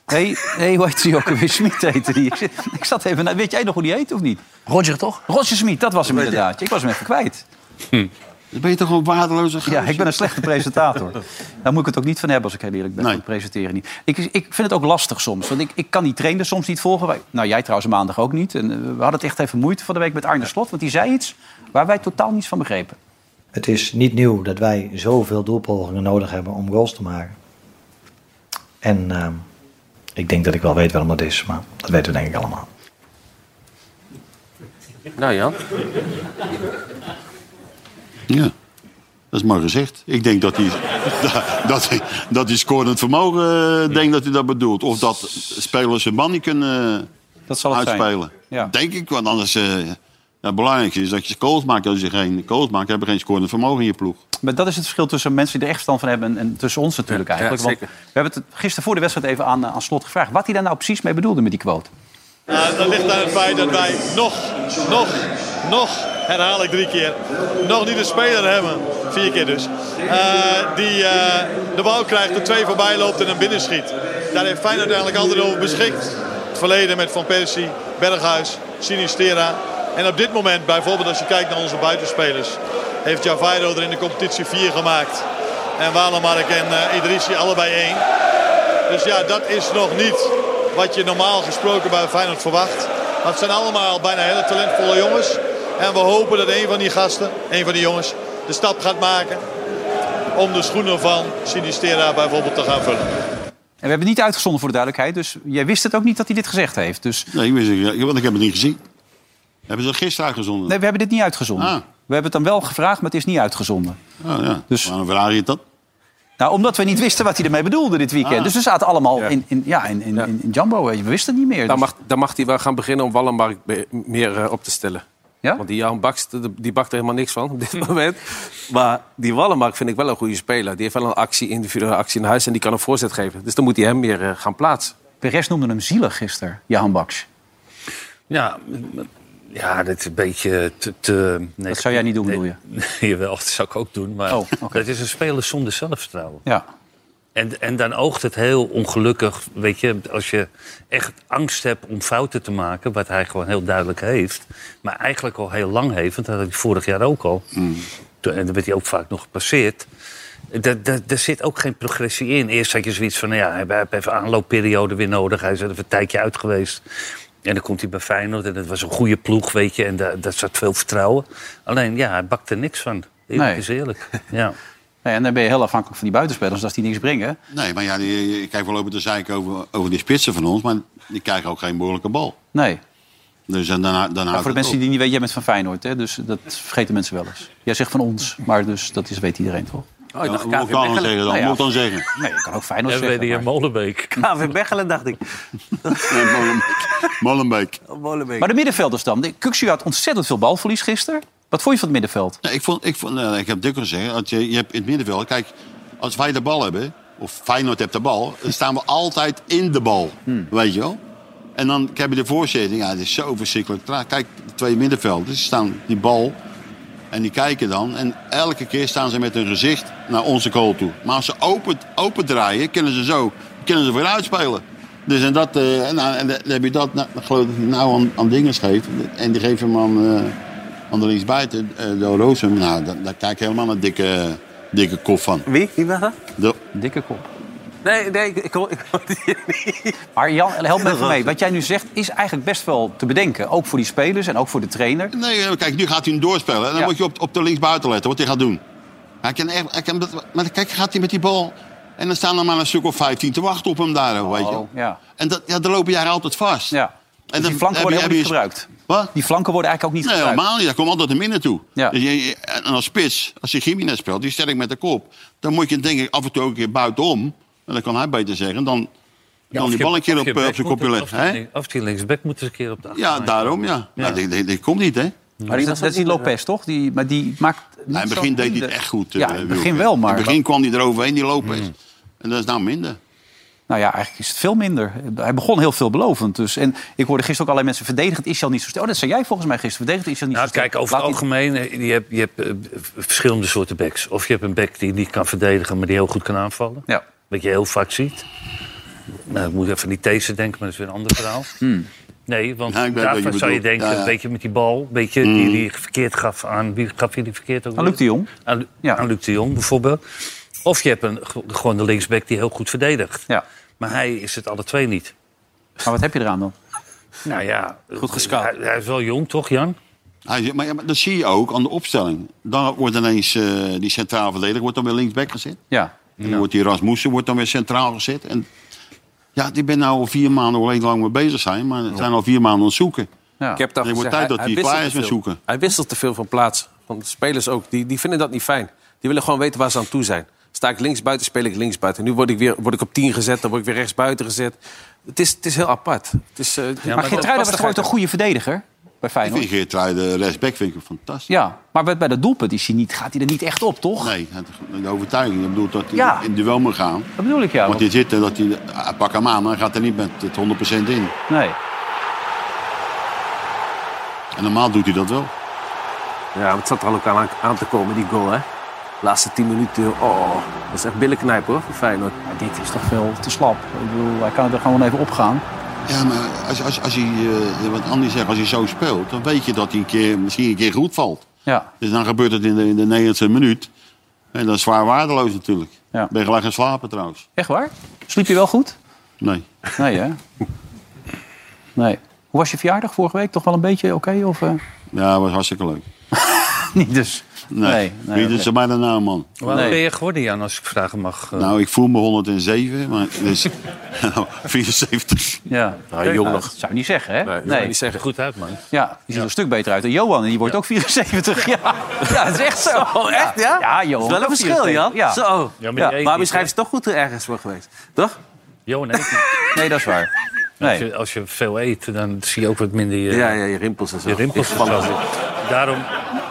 Nee, nee, hoe heet hij ook weer? Smit heette die. Ik zit- Ik zat even... na- Weet jij nog hoe die heet of niet?
Roger toch?
Roger Smit, dat was hem inderdaad. Ik was hem even kwijt.
Hm. Dan ben je toch gewoon waardeloos
Ja, ik ben een slechte presentator. Daar moet ik het ook niet van hebben als ik heel eerlijk ben.
Nee.
Ik presenteren niet. Ik, ik vind het ook lastig soms. Want ik, ik kan die trainer soms niet volgen. Wij- nou, jij trouwens maandag ook niet. En eh, we hadden het echt even moeite van de week met Arne Slot. Want die zei iets waar wij totaal niets van begrepen.
Het is niet nieuw dat wij zoveel doelpogingen nodig hebben om goals te maken. En ehm, Ik denk dat ik wel weet waarom dat is, maar dat weten we denk ik allemaal.
Nou Jan.
Ja, dat is maar gezegd. Ik denk dat hij dat, hij- dat hij scorend vermogen eh, denkt dat hij dat bedoelt. Of dat spelers hun man niet kunnen
dat zal het zijn.
uitspelen. Denk ik, want anders... eh ja, het belangrijkste is dat je goals maakt. Als je geen goals maakt, heb je geen scorend vermogen in je ploeg.
Maar dat is het verschil tussen mensen die er echt verstand van hebben... en, en tussen ons natuurlijk
Ja,
eigenlijk.
ja,
Want we hebben het gisteren voor de wedstrijd even aan, eh, aan slot gevraagd... wat hij daar nou precies mee bedoelde met die quote.
Nou, dat ligt aan het feit dat wij nog, nog, nog, herhaal ik drie keer, nog niet een speler hebben, vier keer dus, eh, die eh, de bal krijgt, er twee voorbij loopt en hem binnen schiet. Daar heeft Feyenoord eigenlijk altijd over beschikt. Het verleden met Van Persie, Berghuis, Sinistera. En op dit moment, bijvoorbeeld als je kijkt naar onze buitenspelers, heeft Javairo er in de competitie vier gemaakt. En Walemark en eh, Idrissi allebei één. Dus ja, dat is nog niet wat je normaal gesproken bij Feyenoord verwacht. Maar het zijn allemaal bijna hele talentvolle jongens. En we hopen dat een van die gasten, een van die jongens, de stap gaat maken om de schoenen van Sinistera bijvoorbeeld te gaan vullen.
En we hebben het niet uitgezonden voor de duidelijkheid. Dus jij wist het ook niet dat hij dit gezegd heeft. Dus...
Nee, ik wist het, niet, want ik heb het niet gezien. Hebben ze dat gisteren uitgezonden?
Nee, we hebben dit niet uitgezonden. We hebben het dan wel gevraagd, maar het is niet uitgezonden.
Oh, ja.
Dus...
Waarom vraag je het dan?
Nou, omdat we niet wisten wat hij ermee bedoelde dit weekend.
Ah.
Dus we zaten allemaal in, in, ja, in, in, in, in Jumbo. We wisten het niet meer.
Dan
Dus-
mag, dan mag hij wel gaan beginnen om Wallenberg be- meer eh, op te stellen. Want die Jan Baks, de- die bakt er helemaal niks van op dit moment. Maar die Wallenberg vind ik wel een goede speler. Die heeft wel een actie, individuele actie in huis en die kan een voorzet geven. Dus dan moet hij hem meer eh, gaan plaatsen.
Perez noemde hem zielig gisteren, Jan Baks.
Ja, m- ja, dat is een beetje te... te dat zou
jij niet doen, bedoel je?
Jawel, dat zou ik ook doen. Maar
Oh, oké.
dat is een speler zonder zelfvertrouwen.
Ja.
En, en dan oogt het heel ongelukkig, weet je, als je echt angst hebt om fouten te maken, wat hij gewoon heel duidelijk heeft, maar eigenlijk al heel lang heeft, want dat had hij vorig jaar ook al.
Mm.
Toen- En dan werd hij ook vaak nog gepasseerd. Daar- daar- Daar zit ook geen progressie in. Eerst had je zoiets van, nou ja, hij hij heeft even aanloopperiode weer nodig. Hij is er even een tijdje uit geweest. En dan komt hij bij Feyenoord en het was een goede ploeg, weet je. En daar, daar zat veel vertrouwen. Alleen, ja, hij bakt er niks van. Eerlijk
Nee.
is eerlijk. Ja.
Nee, en dan ben je heel afhankelijk van die buitenspelers. Dus als die niks brengen...
Nee, maar ja, die, kijk, we lopen te zeiken over, over die spitsen van ons. Maar die krijgen ook geen behoorlijke bal.
Nee.
Dus en daarna,
Maar
daarna
voor de mensen die niet weten, jij bent van Feyenoord. Hè? Dus dat vergeten mensen wel eens. Jij zegt van ons, maar dus, dat is, weet iedereen toch?
Oh, ik dacht Ja, moet KVB. ik dan zeggen dan?
Nou ja.
Moet ik dan zeggen?
Nee, ik kan ook Feyenoord
En
zeggen.
weet je, Molenbeek.
KV Bechelen, dacht ik.
Molenbeek.
Molenbeek. Maar de middenvelders dan. Kuxu had ontzettend veel balverlies gisteren. Wat vond je van het middenveld?
Nee, ik, vond, ik, vond, nee, ik heb dikwijls gezegd, dat je, je hebt in het middenveld... Kijk, als wij de bal hebben, of Feyenoord hebt de bal... dan staan we altijd in de bal,
Hmm.
weet je wel? En dan heb je de voorzetting. Ja, het is zo verschrikkelijk traag. Kijk, de twee middenvelders die staan die bal... en die kijken dan. En elke keer staan ze met hun gezicht naar onze goal toe. Maar als ze open, open draaien, kunnen ze zo kunnen ze weer uitspelen. Dus en dat... eh, en, nou, en dan heb je dat, nou, dan geloof ik dat hij nou aan, aan dingen geeft. En die geeft hem aan... eh, want links buiten, eh, de Roosum, nou, daar, daar kijk ik helemaal een dikke, dikke kop van.
Wie? Wie was dat?
De...
Dikke kop.
Nee, nee, ik, ik, hoor- ik hoor die niet.
Maar Jan, help me even mee. Wat jij nu zegt is eigenlijk best wel te bedenken. Ook voor die spelers en ook voor de trainer.
Nee, eh, kijk, nu gaat hij hem doorspelen. En dan moet je op, op de linksbuiten letten wat hij gaat doen. Hij kan echt, hij kan, dat- maar kijk, gaat hij met die bal... En dan staan er maar een stuk of 15 te wachten op hem daar, weet je.
Oh, Ja.
En dat, ja, daar lopen jij altijd vast.
Ja. Dus
En
die flanken worden helemaal niet gebruikt.
Wat?
Die flanken worden eigenlijk ook niet
Nee,
gebruikt.
helemaal niet. Daar komt altijd een min naartoe.
Ja.
Dus je- je- en als spits, als je Jiménez speelt, die sterk met de kop... dan moet je denk ik af en toe ook een keer buitenom... en dat kan hij beter zeggen, dan, dan die bal een keer op, eh, op zijn kopje leggen. hè?
Of die linksback moet eens een keer op de
Ja,
achterlijn
daarom
komen.
ja. Nou, die, die, die komt niet, hè?
Maar die, dat is die Lopez, toch? Die, maar die maakt... niet
Nou, in het
zo'n
begin deed hij
minder-
het echt goed.
Ja,
eh,
in het
Wilfred.
begin wel, maar... Hmm.
In het begin kwam hij eroverheen, die Lopez. En dat is nou minder.
Nou ja, eigenlijk is het veel minder. Hij begon heel veelbelovend. Dus, en ik hoorde gisteren ook allerlei mensen verdedigend. Is niet zo sterk? Oh, dat zei jij volgens mij gisteren. Verdedigend is niet zo
Nou,
sterk.
kijk, over het
Laat die-
algemeen, eh, je hebt, je hebt eh, v- verschillende soorten backs. Of je hebt een back die niet kan verdedigen, maar die heel goed kan aanvallen.
Ja.
Wat je heel vaak ziet. Nou, ik moet even niet deze denken, maar dat is weer een ander verhaal. Nee, want
Ja, ik weet wat je
daarvan zou je
bedoelt.
denken,
Ja, Mm. ja.
een beetje met die bal, een beetje die, die verkeerd gaf aan... Wie gaf je die verkeerd ook
Aan
weer?
Luc de Jong.
Aan, Lu- aan Luc de Jong, bijvoorbeeld. Of je hebt een, ge- gewoon de linksback die heel goed verdedigt. Maar hij is het alle twee niet.
Maar wat heb je eraan dan?
Nou ja, goed gescout. Hij, hij is wel jong, toch, Jan?
Hij, zegt, maar, ja, maar dat zie Ah, je ook aan de opstelling. Dan wordt ineens eh, die centraal verdediger wordt dan weer linksback gezet.
Ja.
En dan wordt die Rasmussen wordt dan weer centraal gezet. En Ja, ik ben nou al vier maanden alleen lang mee bezig zijn, maar we zijn al vier maanden aan het zoeken.
Ik heb het al
Het wordt
gezegd,
tijd dat hij
wisselt
klaar is
te
met
veel.
zoeken.
Hij wisselt te veel van plaats. Van de spelers ook. Die, die vinden dat niet fijn. Die willen gewoon weten waar ze aan toe zijn. Sta ik links buiten, speel ik links buiten. Nu word ik, weer, word ik op 10 gezet, dan word ik weer rechts buiten gezet. Het is, het is heel apart. Het is, eh,
maar maar Geertruida was toch ooit een goede verdediger bij
Ik
Feyenoord?
vind Geertruiden rechtsback vind ik hem fantastisch.
Ja, maar bij- bij dat doelpunt is hij niet, gaat hij er niet echt op, toch?
Nee, het- de overtuiging. Ik bedoel dat hij
Ja.
in het duel moet gaan.
Dat bedoel ik, ja.
Want dit zit er dat hij, hij pakt hem aan, maar hij gaat er niet met het 100% in.
Nee.
En normaal doet hij dat wel.
Ja, maar het zat er al ook aan, aan te komen, die goal, hè? Laatste 10 minuten, oh, dat is echt billenknijpen, hoor, voor Feyenoord.
dit is toch veel te slap. Ik bedoel, hij kan er gewoon even opgaan.
Ja, maar als, als, als hij, eh, wat Andy zegt, als hij zo speelt, dan weet je dat hij een keer, misschien een keer goed valt.
Ja.
Dus dan gebeurt het in de, in de 90 minuut. En dat is zwaar waardeloos natuurlijk.
Ja.
Ben je gelijk gaan slapen trouwens?
Echt waar? Sliep je wel goed?
Nee.
Nee, hè? Nee. Hoe was je verjaardag vorige week? Toch wel een beetje oké? of, eh?
Ja, was hartstikke leuk.
Niet dus?
Nee.
Nee, nee,
Wie doet
oké.
ze mij daarna, man?
Waar ben je geworden, Jan, als ik vragen mag? eh?
Nou, ik voel me 107, maar dus, nou, 74.
Ja.
Nou, jong nog.
Dat zou je niet zeggen, hè? Nee.
Die zeggen goed uit, man.
Ja, die ziet er een stuk beter uit. En Johan, die wordt ook 74. Ja. ja, dat is echt zo.
echt, ja?
Ja, Johan.
Dat is wel een
ook
verschil,
74.
Jan.
Ja.
Zo.
Ja, maar die
maar,
eet
maar
niet,
beschrijf ze toch goed hoe ergens voor geweest, toch?
Johan eet niet.
Nee, dat is waar.
Als, je, als je veel eet, dan zie je ook wat minder je,
Ja, ja, je rimpels en zo.
je rimpels.
Ik val
en zo.
wel.
Daarom,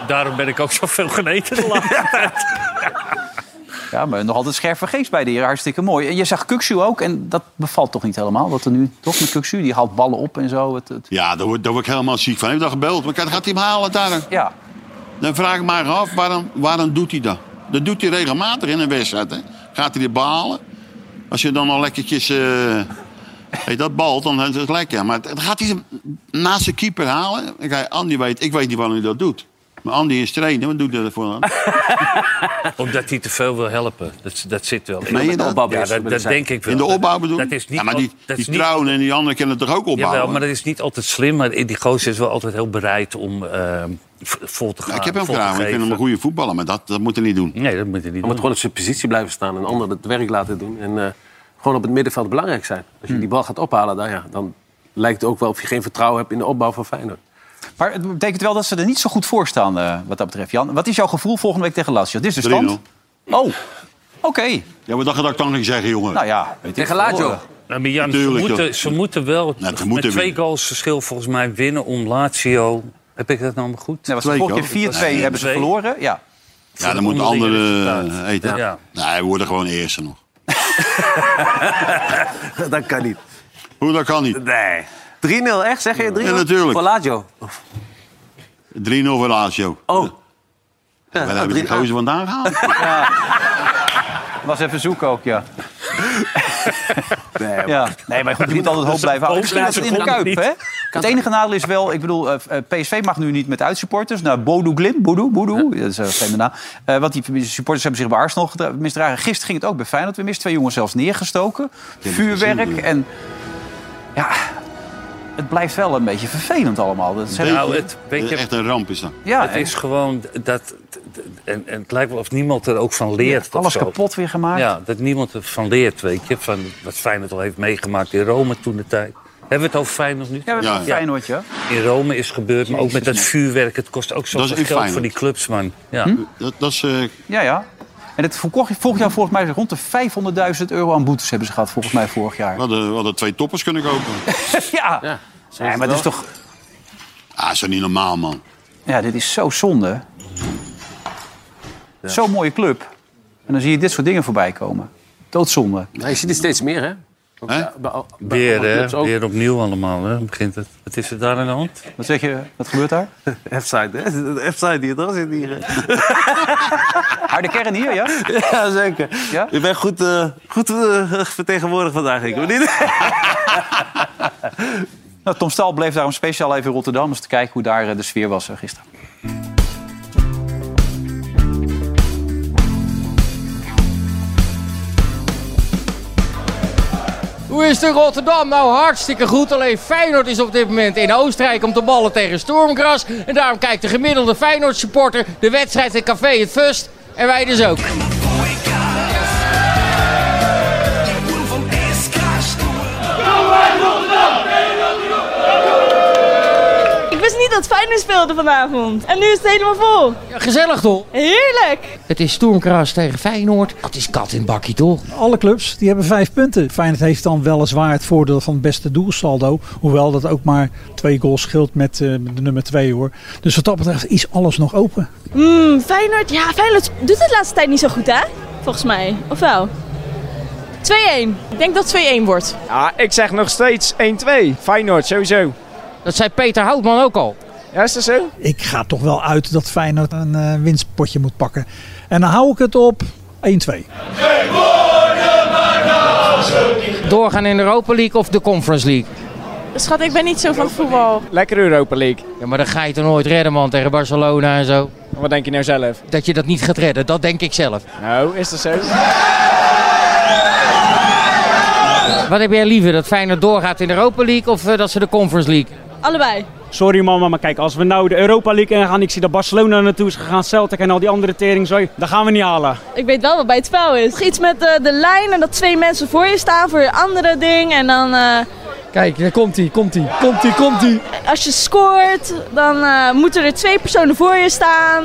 daarom ben ik ook zoveel geneten de laatste tijd.
Ja, maar nog altijd scherp van geest bij de heer. Hartstikke mooi. En je zag Kuksu ook. En dat bevalt toch niet helemaal? Wat er nu toch met Kuksu? Die haalt ballen op en zo. Het, het...
Ja, daar word, daar word ik helemaal ziek van. Ik heb dat gebeld. Maar kijk, gaat hij hem halen daar?
Ja.
Dan vraag ik mij af, waarom, waarom doet hij dat? Dat doet hij regelmatig in een wedstrijd. Hè? Gaat hij die behalen? Als je dan al lekkertjes... eh heet dat bal, dan is het lekker. Maar dan gaat hij hem naast de keeper halen. Ik zei, Andy weet, ik weet niet waarom hij dat doet. Maar Andy is trainer, wat doet hij ervoor aan?
Omdat hij te veel wil helpen. Dat, dat zit wel. in.
Meen je dat?
Ja, dat, dat denk ik wel.
In de opbouw bedoel
Dat
je?
is niet
ja, maar die,
al- dat
die
is niet-
Trouwen en die anderen kunnen het toch ook opbouwen?
Jawel, maar dat is niet altijd slim. Maar die gozer is wel altijd heel bereid om eh, v- vol te gaan.
Ja, ik heb hem
vol te
graag, ik vind
geven.
hem een goede voetballer. Maar dat, dat moet hij niet doen.
Nee, dat moet je niet
Je moet
doen.
gewoon op zijn positie blijven staan en anderen het werk laten doen. En eh, gewoon op het middenveld belangrijk zijn. Als
Hmm.
je die bal gaat ophalen, dan, ja, dan lijkt het ook wel of je geen vertrouwen hebt in de opbouw van Feyenoord.
Maar het betekent wel dat ze er niet zo goed voor staan eh, wat dat betreft, Jan. Wat is jouw gevoel volgende week tegen Lazio? Dit is de stand? Oh, oké.
Ja, maar dat ga ik dan niet zeggen, jongen.
Nou ja, weet ik veel.
Nou, maar Jan, ze,
Natuurlijk, joh.
moeten, ze moeten wel
Ja, ze moeten
met twee
winnen.
goals verschil volgens mij winnen om Lazio... Heb ik dat nou maar goed?
Nee, was de
Twee
vorige
keer.
keer 4-2
Ja,
hebben ze
twee.
verloren. Ja.
Ja, dan moet de
onderlinge
andere eh,
resultaat.
eten. Nou,
Ja.
Nee, we worden gewoon eerste nog.
dat kan niet.
Hoe, dat kan niet.
Nee. 3-0, echt? Zeg je 3-0?
Ja, natuurlijk.
Voor Lazio.
3-0 voor Lazio.
Oh.
Waar hebben we die gozer vandaan gehaald?
Was even zoeken ook, ja.
Nee,
ja. Nee, maar goed, je moet altijd hoop blijven houden. Misschien is het in de Kuip, hè? Het enige nadeel is wel, ik bedoel, eh, eh, PSV mag nu niet met uitsupporters. Nou, Bodo Glim, Bodo, Bodo, dat is een vreemde naam. Eh, want die supporters hebben zich bij Arsenal gedra- misdragen. Gisteren ging het ook bij Feyenoord weer mis. Twee jongens zelfs neergestoken. Vuurwerk en... Ja, het blijft wel een beetje vervelend allemaal. Dat zijn-
Nou, het, weet je,
Echt een ramp is dat.
ja,
het
en
is gewoon dat... En, en het lijkt wel of niemand er ook van leert. of
alles
zo.
kapot weer gemaakt.
Ja, dat niemand ervan leert, weet je. Van wat Feyenoord al heeft meegemaakt in Rome toen de tijd. Hebben we het over Feyenoord nu?
Ja, we hebben
Ja.
een Feyenoord, ja.
In Rome is gebeurd, maar ook met dat vuurwerk. Het kost ook
Dat is
zoveel
in
geld voor
Feyenoord.
die clubs, man. Ja.
Hm?
Dat, dat is, eh,
Ja, ja. En het verkocht, vorig jaar volgens mij rond de 500.000 euro aan boetes hebben ze gehad, volgens mij vorig jaar.
we, hadden, we hadden twee toppers kunnen kopen.
ja.
zo
Nee, maar
het
dat is toch...
Ah, is dat niet normaal, man.
Ja, dit is zo zonde. Zo'n mooie club. En dan zie je dit soort dingen voorbij komen. Doodzonde.
Ja, je ziet het steeds meer, hè? Ook
Hè?
bij- bij- bij
Weer,
alle clubs
hè?
ook.
Weer opnieuw allemaal, hè? Begint het. Wat is er daar aan de hand?
Wat zeg je? Wat gebeurt daar?
F-side, hè? De F-side die er zit hier.
Harde kern hier, ja?
Ja, zeker.
Ja?
Je bent goed, eh, goed eh, vertegenwoordigd vandaag, ik hoor niet.
Nou, Tom Staal bleef daarom speciaal even in Rotterdam... om eens te kijken hoe daar eh, de sfeer was eh, gisteren.
Hoe is het in Rotterdam? Nou, hartstikke goed. Alleen Feyenoord is op dit moment in Oostenrijk om te ballen tegen Stormgras. En daarom kijkt de gemiddelde Feyenoord supporter de wedstrijd in Café het Fust. En wij dus ook.
dat Feyenoord speelde vanavond. En nu is het helemaal vol.
gezellig toch?
Heerlijk.
Het is Stormkras tegen Feyenoord. Dat is kat in bakkie toch?
Alle clubs die hebben vijf punten. Feyenoord heeft dan weliswaar het voordeel van het beste doelsaldo. Hoewel dat ook maar twee goals scheelt met eh, de nummer twee hoor. Dus wat dat betreft is alles nog open.
Mm, Feyenoord, ja, Feyenoord doet het de laatste tijd niet zo goed, hè? Volgens mij. Of wel? 2-1. Ik denk dat het 2-1 wordt.
Ja, ik zeg nog steeds 1-2. Feyenoord, sowieso.
Dat zei Peter Houtman ook al.
Ja, is dat zo?
Ik ga toch wel uit dat Feyenoord een eh, winstpotje moet pakken. En dan hou ik het op 1-2.
Doorgaan in de Europa League of de Conference League?
Schat, ik ben niet zo van voetbal.
Lekker Europa League.
Ja, maar dan ga je toch nooit redden man tegen Barcelona en zo.
Wat denk je nou zelf?
Dat je dat niet gaat redden, dat denk ik zelf.
Nou, is dat zo?
Wat heb jij liever, dat Feyenoord doorgaat in de Europa League of eh, dat ze de Conference League?
Allebei.
Sorry mama, maar kijk, als we nou de Europa League in gaan, ik zie dat Barcelona naartoe is gegaan, Celtic en al die andere teringzooi, dat gaan we niet halen.
Ik weet wel wat bij het spel is. Iets met eh, de lijn en dat twee mensen voor je staan voor je andere ding. En dan eh,
Kijk, daar komt hij, komt hij, komt hij, komt hij.
als je scoort, dan eh, moeten er twee personen voor je staan.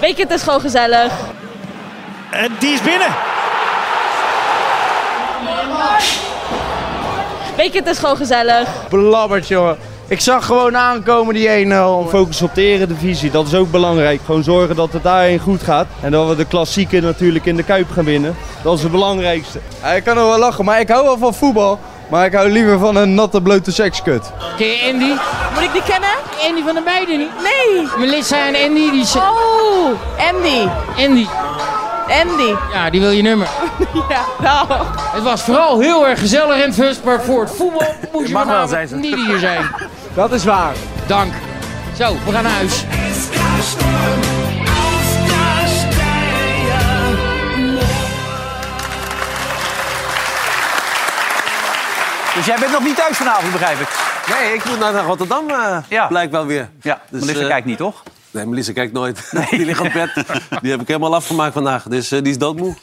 Weet je, het is gewoon gezellig.
En die is binnen.
Weet je, het is gewoon gezellig.
Blabbert, jongen. Ik zag gewoon aankomen die 1-0. Focus op de eredivisie, dat is ook belangrijk. Gewoon zorgen dat het daarin goed gaat. En dat we de klassieken natuurlijk in de Kuip gaan winnen. Dat is het belangrijkste. Ja, ik kan er wel lachen, maar ik hou wel van voetbal. Maar ik hou liever van een natte blote sekskut.
Ken je Andy?
Moet ik die kennen?
Andy van de meiden niet?
Nee.
Melissa en Andy, die zijn...
Oh, Andy.
Andy.
Andy.
Ja, die wil je nummer.
ja, nou.
Het was vooral heel erg gezellig en fust, maar voor het voetbal moest je
mag wel, zei
vanavond
ze.
niet hier zijn.
Dat is waar.
Dank. Zo, we gaan naar huis.
Dus jij bent nog niet thuis vanavond, begrijp ik.
Nee, ik moet nou naar Rotterdam, eh blijkbaar weer. eh,
Ja, Melissa kijkt niet, toch?
Dus, Nee, Melissa kijkt nooit. Die ligt op bed. Die heb ik helemaal afgemaakt vandaag, dus eh, die is doodmoe.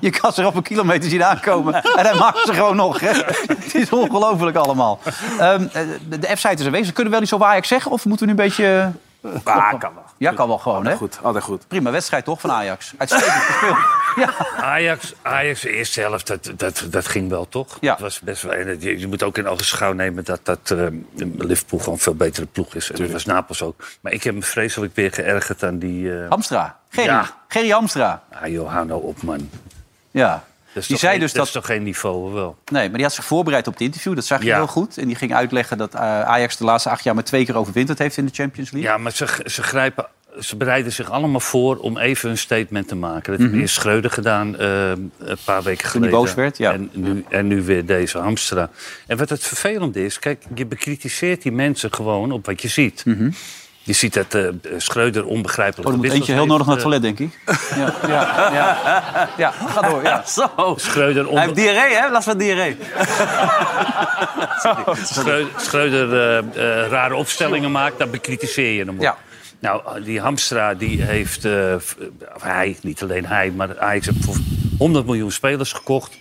Je kan ze op een kilometer zien aankomen. En hij maakt ze gewoon nog. Hè. Het is ongelooflijk allemaal. Ehm, eh, de F-site is aanwezig. Kunnen we wel iets over Ajax zeggen? Of moeten we nu een beetje... eh,
Ah, kan wel.
Ja, kan wel gewoon, hè?
Goed, altijd goed.
Prima wedstrijd, toch, van Ajax? Uitstekend gespeeld.
Ajax, Ajax eerst zelf, dat, dat, dat ging wel toch? Het was best wel, en het- je, je moet ook in ogenschouw nemen dat, dat eh, Liverpool gewoon een veel betere ploeg is. En dat was Napels ook. Maar ik heb me vreselijk weer geërgerd aan die... eh,
Hamstra. Gerry.
Ja.
Gerry Hamstra.
Ah joh, hou nou op man.
Ja.
Dat is,
Die
toch,
zei
geen,
dus
dat is toch geen niveau, of wel?
Nee, maar die had zich voorbereid op het interview. Dat zag je
Ja.
heel goed. En die ging uitleggen dat eh, Ajax de laatste acht jaar maar twee keer overwinterd heeft in de Champions League.
Ja, maar ze, ze, grijpen, ze bereiden zich allemaal voor om even een statement te maken. Dat
Mhm.
heeft eerst Schreuder gedaan eh, een paar weken
Toen hij
geleden.
boos werd, ja.
En nu, en nu weer deze Hamstra. En wat het vervelende is, kijk, je bekritiseert die mensen gewoon op wat je ziet. Je ziet dat eh Schreuder onbegrijpelijk...
Mhm.
eh,
Oh, dan moet eentje heel nodig naar het toilet, denk ik. Ja, ja, ja. ja ga door. Ja.
Zo.
Schreuder
Hij heeft diarree, hè? Last van diarree.
Schreuder, Schreuder eh, eh, rare opstellingen maakt, dan bekritiseer je hem op. Nou, die Hamstra, die heeft... eh, v- of hij, niet alleen hij, maar Ajax heeft voor 100 miljoen spelers gekocht.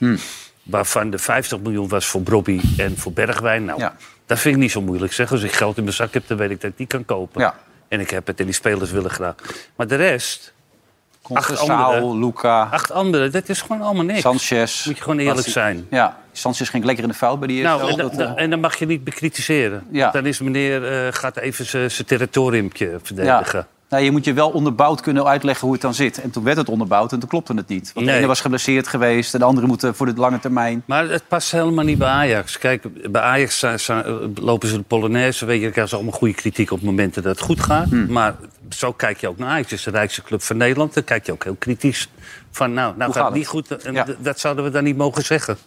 Waarvan de 50 miljoen was voor Bobby en voor Bergwijn. Nou, dat vind ik niet zo moeilijk zeggen. Als ik geld in mijn zak heb, dan weet ik dat ik die kan kopen. En ik heb het en die spelers willen graag. Maar de rest...
Concessaal, Luca.
Acht anderen, dat is gewoon allemaal niks.
Sanchez.
Moet je gewoon eerlijk
Basie-
zijn.
Ja, Sanchez ging lekker in de fout bij die eerste.
Nou, en,
helft.
da-
Dat,
da- en dan mag je niet bekritiseren.
Ja.
Dan is meneer, eh, gaat even zijn territoriumpje
eh, ja.
verdedigen.
Nou, je moet je wel onderbouwd kunnen uitleggen hoe het dan zit. En toen werd het onderbouwd en toen klopte het niet. Want de
Nee.
ene was geblesseerd geweest en de andere moet eh, voor de lange termijn.
Maar het past helemaal niet bij Ajax. Kijk, bij Ajax zijn- zijn- eh, lopen ze de Polonaise. Weet je, dan krijgen ze allemaal goede kritiek op momenten dat het goed gaat. Maar zo kijk je ook naar Ajax. Het is de rijkste club van Nederland. Dan kijk je ook heel kritisch van, nou, nou
Hoe
gaat
gaat
het
het?
niet goed. En
Ja.
d- Dat zouden we dan niet mogen zeggen.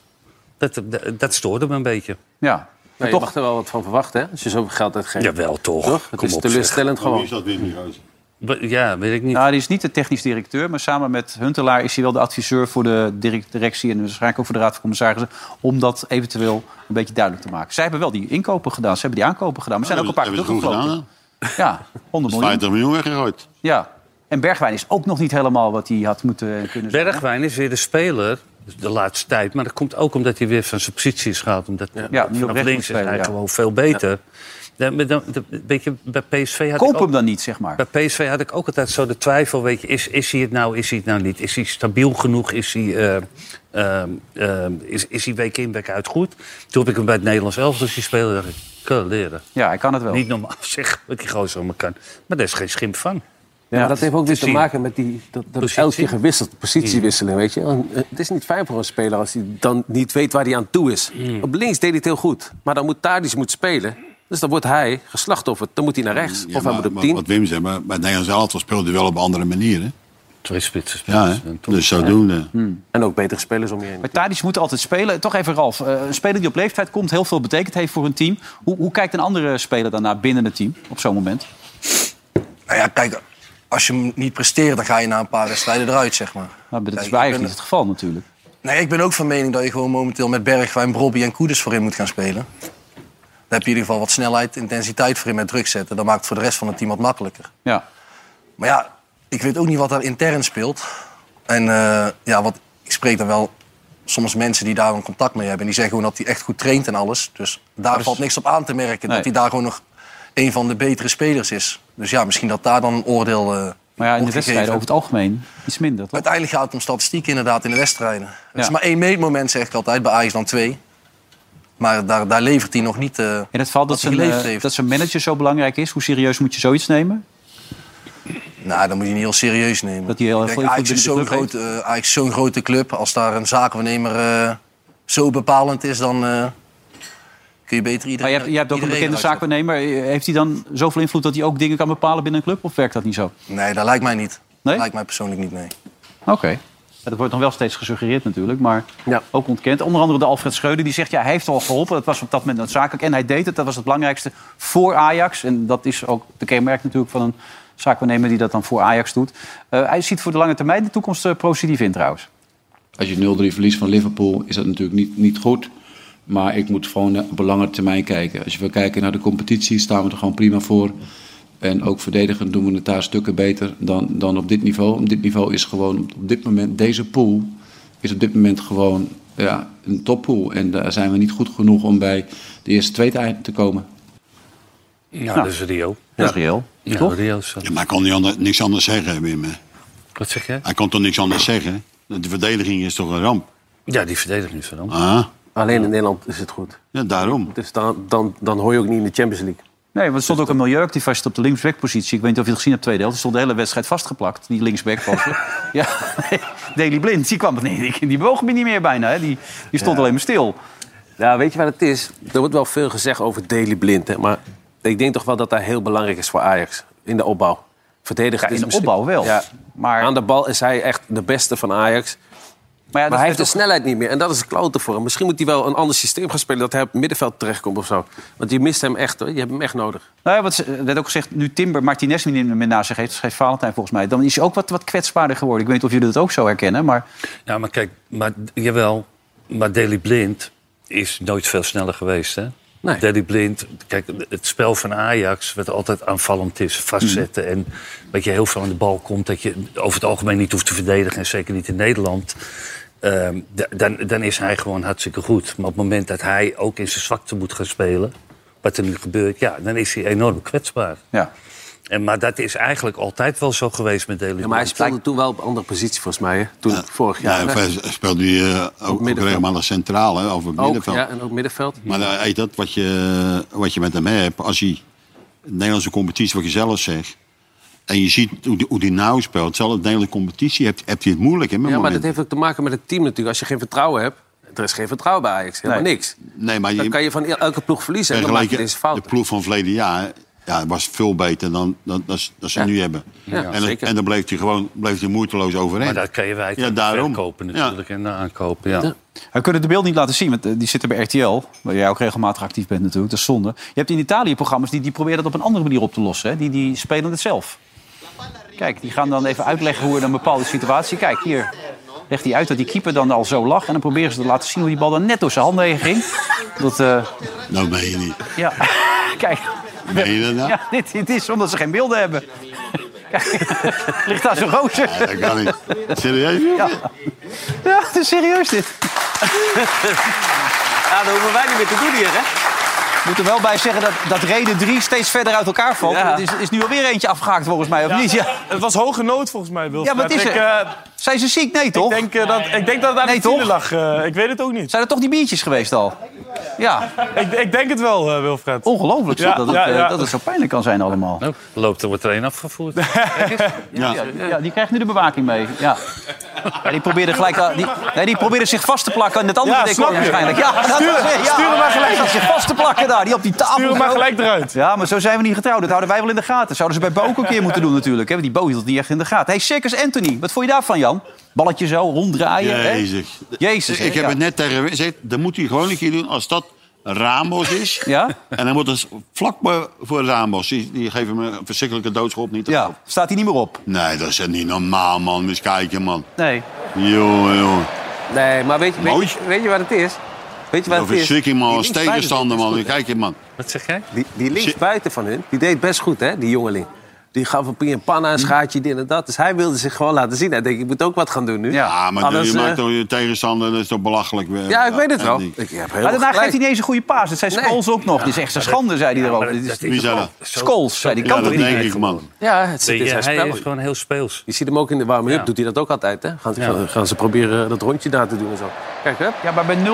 Dat, dat, dat stoorde me een beetje.
Ja.
Maar je mag er wel wat van verwachten, hè? Als je zoveel geld uitgeeft.
Jawel, toch.
Het
Kom
is
op,
teleurstellend
zeg.
gewoon.
Wie is dat
weer nu
Ja, weet ik niet.
Nou, die is niet de technisch directeur, maar samen met Huntelaar is hij wel de adviseur voor de direct- directie en waarschijnlijk ook voor de Raad van Commissarissen. Om dat eventueel een beetje duidelijk te maken. Zij hebben wel die inkopen gedaan, ze hebben die aankopen gedaan, maar zijn ook een paar keer
Hebben ze goed
teruggevlogen.
gedaan,
Ja, 100 miljoen.
hè? 50 miljoen weggegooid.
Ja. En Bergwijn is ook nog niet helemaal wat hij had moeten en kunnen zijn.
Bergwijn is weer de speler dus de laatste tijd. Maar dat komt ook omdat hij weer van zijn positie is gehaald. Omdat
nu op
vanaf
rechts
links
moet spelen,
is hij
ja.
gewoon veel beter. Ja, maar dan- dan- weet je, bij PSV had
Koop
ik ook-
hem dan niet, zeg maar.
Bij PSV had ik ook altijd zo de twijfel, weet je, is, is hij het nou, is hij het nou niet? Is hij stabiel genoeg? Is hij, eh, ehm, ehm, is, is hij week in, week uit goed? Toen heb ik hem bij het Nederlands elftal zien spelen, dacht ik, kan leren.
Ja, hij kan het wel.
Niet normaal zeg, wat die gozer allemaal kan. Maar daar is geen schimp van.
Ja, maar dat heeft ook weer te
zien.
maken met die, dat, dat
Positie.
elke keer gewisseld, positiewisseling, weet je. Want, eh, het is niet fijn voor een speler als hij dan niet weet waar hij aan toe is.
Hmm.
Op links deed hij het heel goed, maar dan moet Tadic moet spelen. Dus dan wordt hij geslachtofferd, dan moet hij naar rechts.
Ja,
of hij
maar-
moet op
maar
tien.
Wat Wim zei, maar bij het Nederlands elftal speelde hij wel op andere manieren.
Twee spitsen
Ja, hè? dus zodoende.
Hmm. En ook betere spelers om je heen.
Maar Tadic moet altijd spelen. Toch even Ralf, eh, een speler die op leeftijd komt... heel veel betekend heeft voor een team. Hoe, hoe kijkt een andere speler daarna binnen het team op zo'n moment?
Nou ja, kijk, als je hem niet presteert, dan ga je na een paar wedstrijden eruit, zeg maar.
Nou, dat is
Kijk,
bij
ik ben-
eigenlijk niet het geval natuurlijk.
Nee, ik ben ook van mening dat je gewoon momenteel met Bergwijn, Brobby en Koeders voorin moet gaan spelen. Daar heb je in ieder geval wat snelheid, intensiteit voor in met druk zetten. Dat maakt het voor de rest van het team wat makkelijker.
Ja.
Maar ja, ik weet ook niet wat daar intern speelt. En eh, ja, wat, ik spreek dan wel soms mensen die daar een contact mee hebben. En die zeggen gewoon dat hij echt goed traint en alles. Dus daar
Dat is-
valt niks op aan te merken.
Nee.
Dat hij daar gewoon nog een van de betere spelers is. Dus ja, misschien dat daar dan een oordeel eh
Maar ja, in de
wordt
wedstrijden
gegeven.
over het algemeen iets minder, toch?
Uiteindelijk gaat het om statistiek inderdaad in de wedstrijden. Het
Ja.
is maar één meetmoment, zeg ik altijd. Bij Ajax dan twee. Maar daar, daar levert hij nog niet... eh,
In het geval dat
wat hij
zijn,
geleverd
eh,
heeft.
dat zijn manager zo belangrijk is... hoe serieus moet je zoiets nemen?
Nou, dan moet je niet heel serieus nemen.
Dat hij heel
Ik
erg veel invloed
denk, Ajax is
binnen de
zo'n
club
groot, eh, Ajax is zo'n grote club. Als daar een zakenwaarnemer eh, zo bepalend is, dan eh, kun je beter
Maar
iedereen...
je hebt, je hebt ook een
iedereen
bekende
eruit
zaakwaarnemer. Heeft hij dan zoveel invloed dat hij ook dingen kan bepalen binnen een club? Of werkt dat niet zo?
zetten. Nee, dat lijkt mij niet.
Nee?
Lijkt mij persoonlijk niet, nee.
Oké. Ja, dat wordt dan wel steeds gesuggereerd natuurlijk, maar ook ontkend. Onder andere de Alfred Schreuder, die zegt... ja, hij heeft al geholpen, dat was op dat moment noodzakelijk. En hij deed het, dat was het belangrijkste voor Ajax. En dat is ook de kenmerk natuurlijk van een zaakwaarnemer... die dat dan voor Ajax doet. Eh, hij ziet voor de lange termijn de toekomst eh, positief in trouwens.
Als je 0-3 verliest van Liverpool is dat natuurlijk niet, niet goed. Maar ik moet gewoon op een lange termijn kijken. Als je wil kijken naar de competitie, staan we er gewoon prima voor. En ook verdedigend doen we het daar stukken beter dan, dan op dit niveau. Op dit niveau is gewoon op dit moment, deze pool is op dit moment gewoon ja, een toppool. En daar zijn we niet goed genoeg om bij de eerste twee te- te komen.
Ja, dat is reëel.
Nou. Dat is reëel.
Ja,
Toch?
reëel is dat.
Ja, maar hij kon niet ander- niks anders zeggen, Wim. hè?
Wat zeg jij?
Hij kon toch niks anders zeggen? De verdediging is toch een ramp?
Ja, die verdediging is een ramp.
Ah.
Alleen in Nederland is het goed.
Ja, daarom.
Dus dan, dan, dan hoor je ook niet in de Champions League. Dus
Nee, want er stond ook een milieuactivist op de linksbackpositie. Ik weet niet of je het gezien hebt, tweede helft. Er stond de hele wedstrijd vastgeplakt, die linksback. was er. ja, Daily Blind, die kwam... Nee, die, die bewoog me niet meer bijna, hè. Die, die stond alleen maar stil.
Nou, weet je wat het is? Er wordt wel veel gezegd over Daily Blind. Hè? Maar ik denk toch wel dat dat heel belangrijk is voor Ajax. In de opbouw. Verdedigen
Ja, in de opbouw wel. maar...
Aan de bal is hij echt de beste van Ajax.
Maar,
hij heeft de snelheid niet meer. En dat is een klote voor hem. Misschien moet hij wel een ander systeem gaan spelen... dat hij op het middenveld terechtkomt of zo. Want je mist hem echt, hoor. Je hebt hem echt nodig.
Nou ja, wat ze- er werd ook gezegd, nu Timber Martinez niet meer naast zich heeft... schreef Valentijn volgens mij, dan is hij ook wat, wat kwetsbaarder geworden. Ik weet niet of jullie dat ook zo herkennen, maar...
Ja, Nou, maar kijk, maar, jawel, maar Daley Blind is nooit veel sneller geweest, hè?
Nee.
Daley Blind, kijk, het spel van Ajax, wat altijd aanvallend is, vastzetten.
Mm.
En dat je heel veel aan de bal komt, dat je over het algemeen niet hoeft te verdedigen. En zeker niet in Nederland. ehm, da- dan, dan is hij gewoon hartstikke goed. Maar op het moment dat hij ook in zijn zwakte moet gaan spelen, wat er nu gebeurt, ja, dan is hij enorm kwetsbaar.
Ja.
En, maar dat is eigenlijk altijd wel zo geweest met Daley Blind.
maar hij speelde toen wel op een andere positie, volgens mij. Hè? Toen, vorig jaar.
Ja, en verder speelt hij eh, ook, ook
middenveld.
regelmatig centraal, hè, over het
ook,
middenveld.
ja, en ook middenveld.
Maar dan eet dat wat je, wat je met hem hebt, als hij de Nederlandse competitie, wat je zelf zegt, en je ziet hoe die, hoe die nou speelt, zelfs de Nederlandse competitie, hebt, hebt hij het moeilijk hè, met
Ja, maar dat
momenten.
heeft ook te maken met het team natuurlijk. Als je geen vertrouwen hebt, er is geen vertrouwen bij Ajax. Helemaal
Nee.
niks.
Nee, maar
Dan
je-
kan je van elke ploeg verliezen. En dan maak je
Vergeleken
deze fout.
de ploeg van verleden jaar ja, was veel beter dan, dan, dan, ze- dan ze nu hebben.
Ja,
en, dan- en dan bleef hij gewoon bleef hij moeiteloos overeind.
Maar dat kan je wijten
Ja,
aan
daarom.
verkopen natuurlijk en aankopen. Ja.
We kunnen de beeld niet laten zien, want eh, die zitten bij RTL... waar jij ook regelmatig actief bent natuurlijk, dat is zonde. Je hebt in Italië programma's die, die proberen dat op een andere manier op te lossen. Hè? Die, die spelen het zelf. Kijk, die gaan dan even uitleggen hoe er een bepaalde situatie... Kijk, hier legt hij uit dat die keeper dan al zo lag... en dan proberen ze te laten zien hoe die bal dan net door zijn handen heen ging. Dat, eh,
Nou, meen je niet.
Ja, kijk.
Meen je dat nou?
Ja, dit, dit is omdat ze geen beelden hebben. Kijk, ligt daar zo'n roze.
Ja, dat kan niet. Serieus?
Ja. ja, het is serieus dit.
Ja, dat hoeven wij niet meer te doen hier, hè?
moet er wel bij zeggen dat, dat reden 3 steeds verder uit elkaar valt.
Ja.
Er is, is nu alweer eentje afgehaakt volgens mij, of niet? Ja.
Het was hoge nood volgens mij, Wilfred.
Ja, wat is
Ik,
er?
eh,
Zijn ze ziek? Nee, toch?
Ik denk, eh, dat, ik denk dat het aan
Nee,
de file
toch?
lag. eh, ik weet het ook niet.
Zijn er toch die biertjes geweest al? Ja.
Ik, ik denk het wel, eh, Wilfred.
Ongelooflijk zo,
Ja,
dat, het,
ja,
eh,
ja.
dat het zo pijnlijk kan zijn allemaal.
Nou, Loopt er wordt er een afgevoerd.
Ja. Ja, die krijgt nu de bewaking mee. Ja. Ja, die probeerde gelijk, eh, die, nee, die probeerde zich vast te plakken aan het andere
Ja,
decor
snap je.
waarschijnlijk. Ja, dat
Stuur-
was het, ja.
stuur hem maar gelijk.
Hij zat zich vast te plakken daar, Nou, die op die tafel.
Stuur hem maar
zo.
gelijk eruit.
Ja, maar zo zijn we niet getrouwd. Dat houden wij wel in de gaten. Zouden ze bij Bo ook een keer moeten doen natuurlijk. Hè? Want die Bo hield het niet echt in de gaten. Hey, Circus Anthony, wat vond je daarvan, Jan? Balletje zo, ronddraaien. Ah, hè?
Jezus.
Jezus, hè,
Ik heb
ja.
het net tegen hem gezegd. Dat moet hij gewoon een keer doen als dat Ramos is.
Ja?
En dan moet het vlak voor- voor Ramos. Die, die geven hem een verschrikkelijke doodschop. Niet te
Ja,
geloven.
staat hij niet meer op?
Nee, dat is echt niet normaal, man. Moet je eens kijken, man.
Nee.
Jongen, jongen.
Nee, maar weet je, weet,
Mooi.
je- weet je wat het is? Weet je wat
Een
het is?
verschrikking, man.
Die
Als
linksbuiten
tegenstander,
doet het
man.
goed, hè?
Kijk je, man.
Wat zeg jij?
Die, die linksbuiten van hun, die deed best goed, hè, die jongeling. Die gaf een pie en panna,
Hm.
een schaartje, dit en dat. Dus hij wilde zich gewoon laten zien. Hij denkt, ik moet ook wat gaan doen nu.
Ja, maar
Anders,
je
eh,
maakt toch je tegenstander, dat is toch belachelijk. eh,
Ja, ik weet het
echt
wel.
niet.
Ik heb
Maar
helemaal
daarna
gelijk.
geeft hij niet eens een goede paas. Het zijn Scholes ook nog. Dit is echt een schande, zei hij erover. Dit is-
Wie zei dat?
Scholes, zei hij.
Ja,
Kan
dat
toch
denk
niet?
ik, man.
Ja, het
Weet
zit in
je,
zijn
hij
spel.
is gewoon heel speels.
Je ziet hem ook in de warme up,
Ja.
doet hij dat ook altijd, hè? Gaan,
Ja.
gaan ze proberen dat rondje daar te doen en zo. Kijk, hè?
Ja, maar bij 0-0.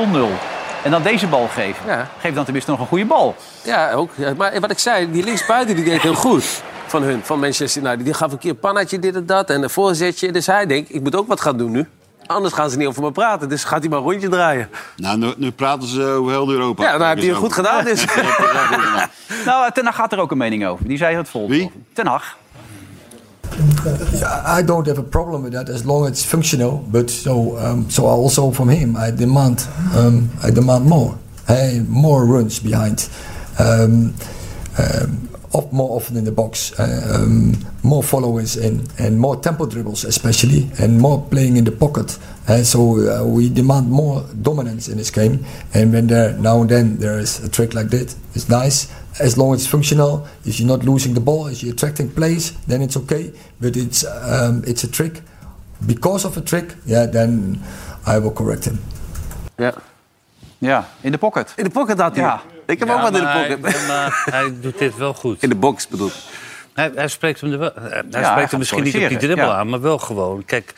En dan deze bal geven.
Ja.
Geef dan tenminste nog een goede bal.
Ja, ook. Ja, Maar wat ik zei, die linksbuiten die deed heel goed. Van hun, van Manchester United. Die gaf een keer een pannetje, dit en dat. En een voorzetje. Dus hij denkt, ik moet ook wat gaan doen nu. Anders gaan ze niet over me praten. Dus gaat hij maar een rondje draaien.
Nou, nu, nu praten ze over heel Europa.
Ja, nou heb je het goed gedaan. Dus.
Nou, Ten Hag had er ook een mening over. Die zei het volgende. Ten Hag.
I don't have a problem with that as long as it's functional. But so, um, so I also from him, I demand, um, I demand more. Hey, more runs behind, um, um, up more often in the box, uh, um, more followers and and more tempo dribbles especially, and more playing in the pocket. And so uh, we demand more dominance in this game. And when there now and then there is a trick like that, it's nice. As long as it's functional, if you're not losing the ball, if you're attracting plays, then it's okay. But it's um, it's a trick. Because of a trick, yeah, then I will correct him.
Ja.
Ja, in de pocket.
In de pocket had hij.
Ja.
Ik heb ook wat in de
maar
pocket.
Hij, maar hij doet dit wel goed.
In de box bedoel ik.
Hij, hij spreekt hem, er wel, eh, hij
hij
spreekt
gaat
hem misschien niet op die
corrigeren,
dribbel
ja.
aan, maar wel gewoon. Kijk,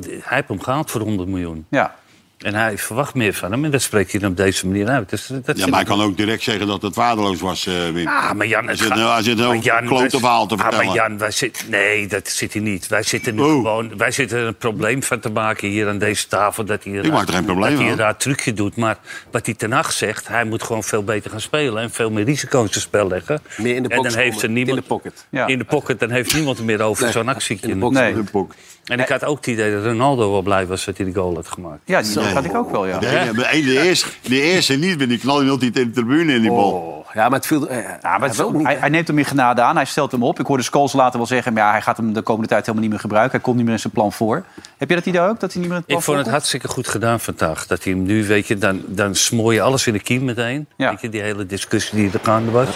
hij heeft hem gehaald voor 100 miljoen.
Ja.
En hij verwacht meer van hem en dat spreekt hij dan op deze manier uit. Dus, dat
Ja,
vind
maar hij
ik-
kan ook direct zeggen dat het waardeloos was, eh Wim.
Ah, maar Jan,
Hij
het
zit
gaat-
nou- hij zit nou
maar
een
Jan,
klote
wij-
verhaal te
Ah, maar
vertellen. Oh.
Jan, wij zit, nee, dat zit hij niet. Wij zitten nu gewoon, wij zitten er een probleem van te maken hier aan deze tafel. Dat hij
maak er geen probleem
dat hij
van.
een raar trucje doet. Maar wat hij ten acht zegt, hij moet gewoon veel beter gaan spelen en veel meer risico's in zijn spel leggen.
Meer in de
en
box
dan heeft er
komen,
niemand
in de pocket.
Ja.
in de pocket, dan heeft niemand er meer over
Nee,
zo'n actie.
in de box. Nee. In
de pocket.
En ik had ook het idee dat Ronaldo wel blij was dat hij de goal had gemaakt.
Ja, die- dat had ik ook wel, ja.
De, ene- de, ene- de eerste, de eerste niet, want die knalde hij altijd in de tribune in die bal.
Ja, maar het viel... eh,
Ja, maar het-
hij wil niet,
hij, hij neemt hem in genade aan. Hij stelt hem op. Ik hoorde Scholes later wel zeggen... maar ja, hij gaat hem de komende tijd helemaal niet meer gebruiken. Hij komt niet meer in zijn plan voor. Heb je dat idee ook? Dat hij niet meer in het plan
Ik vond het
voorkomt?
hartstikke goed gedaan vandaag. Dat hij hem nu, weet je, dan, dan smoor je alles in de kiem meteen. Weet je, die hele discussie die er gaande was.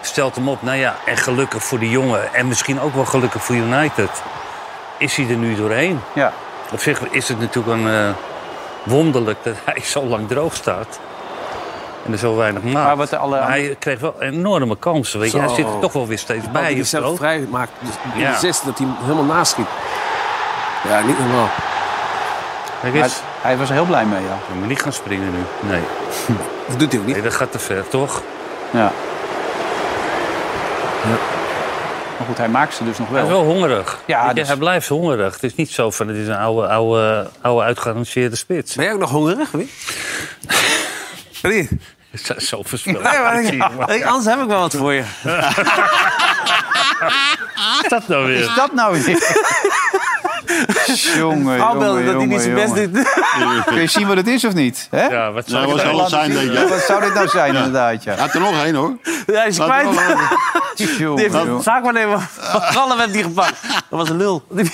Stelt hem op, nou ja, en gelukkig voor de jongen. En misschien ook wel gelukkig voor United. Is hij er nu doorheen?
Ja.
Op zich is het natuurlijk een eh, wonderlijk dat hij zo lang droog staat. En er zo weinig maakt. Maar, hij kreeg wel enorme kansen, weet je. Hij
Zo.
zit er toch wel weer steeds
Hij
bij.
die
of zo.
zelf vrij maakt. Dus in
Ja.
de zesde dat hij hem helemaal naschiet. Ja, niet normaal.
Kijk eens.
Hij, hij was er heel blij mee, ja.
Ik moet niet gaan springen nu. Nee.
Dat doet hij ook niet.
Nee, dat gaat te ver, toch?
ja. Maar goed, hij maakt ze dus nog
Hij
wel.
is wel hongerig.
Ja,
Weet je,
dus-
Hij blijft hongerig. Het is niet zo van, het is een oude, oude, oude uitgeranceerde spits.
Ben jij ook nog hongerig, Wim? Nee.
Het zijn zo verspillen.
Nee, maar ik- ik- anders heb ik wel wat voor je.
is dat nou weer?
Is dat nou weer? jongen,
Al
jongen,
belden dat hij niet zijn best
jongen.
doet.
Kun je zien wat het is of niet? Hè?
Ja, wat
Nou,
zou
was
dat
wel zijn, denk
Ja,
je.
Wat zou dit nou zijn, inderdaad? Ja.
Hij had er nog één, hoor.
Ja, hij is
Laat
kwijt.
hem wel horen.
Jongen,
Die heeft
jongen.
de zaakwaarnemer van Gallen heeft die gepakt. Dat was een lul.
Eh.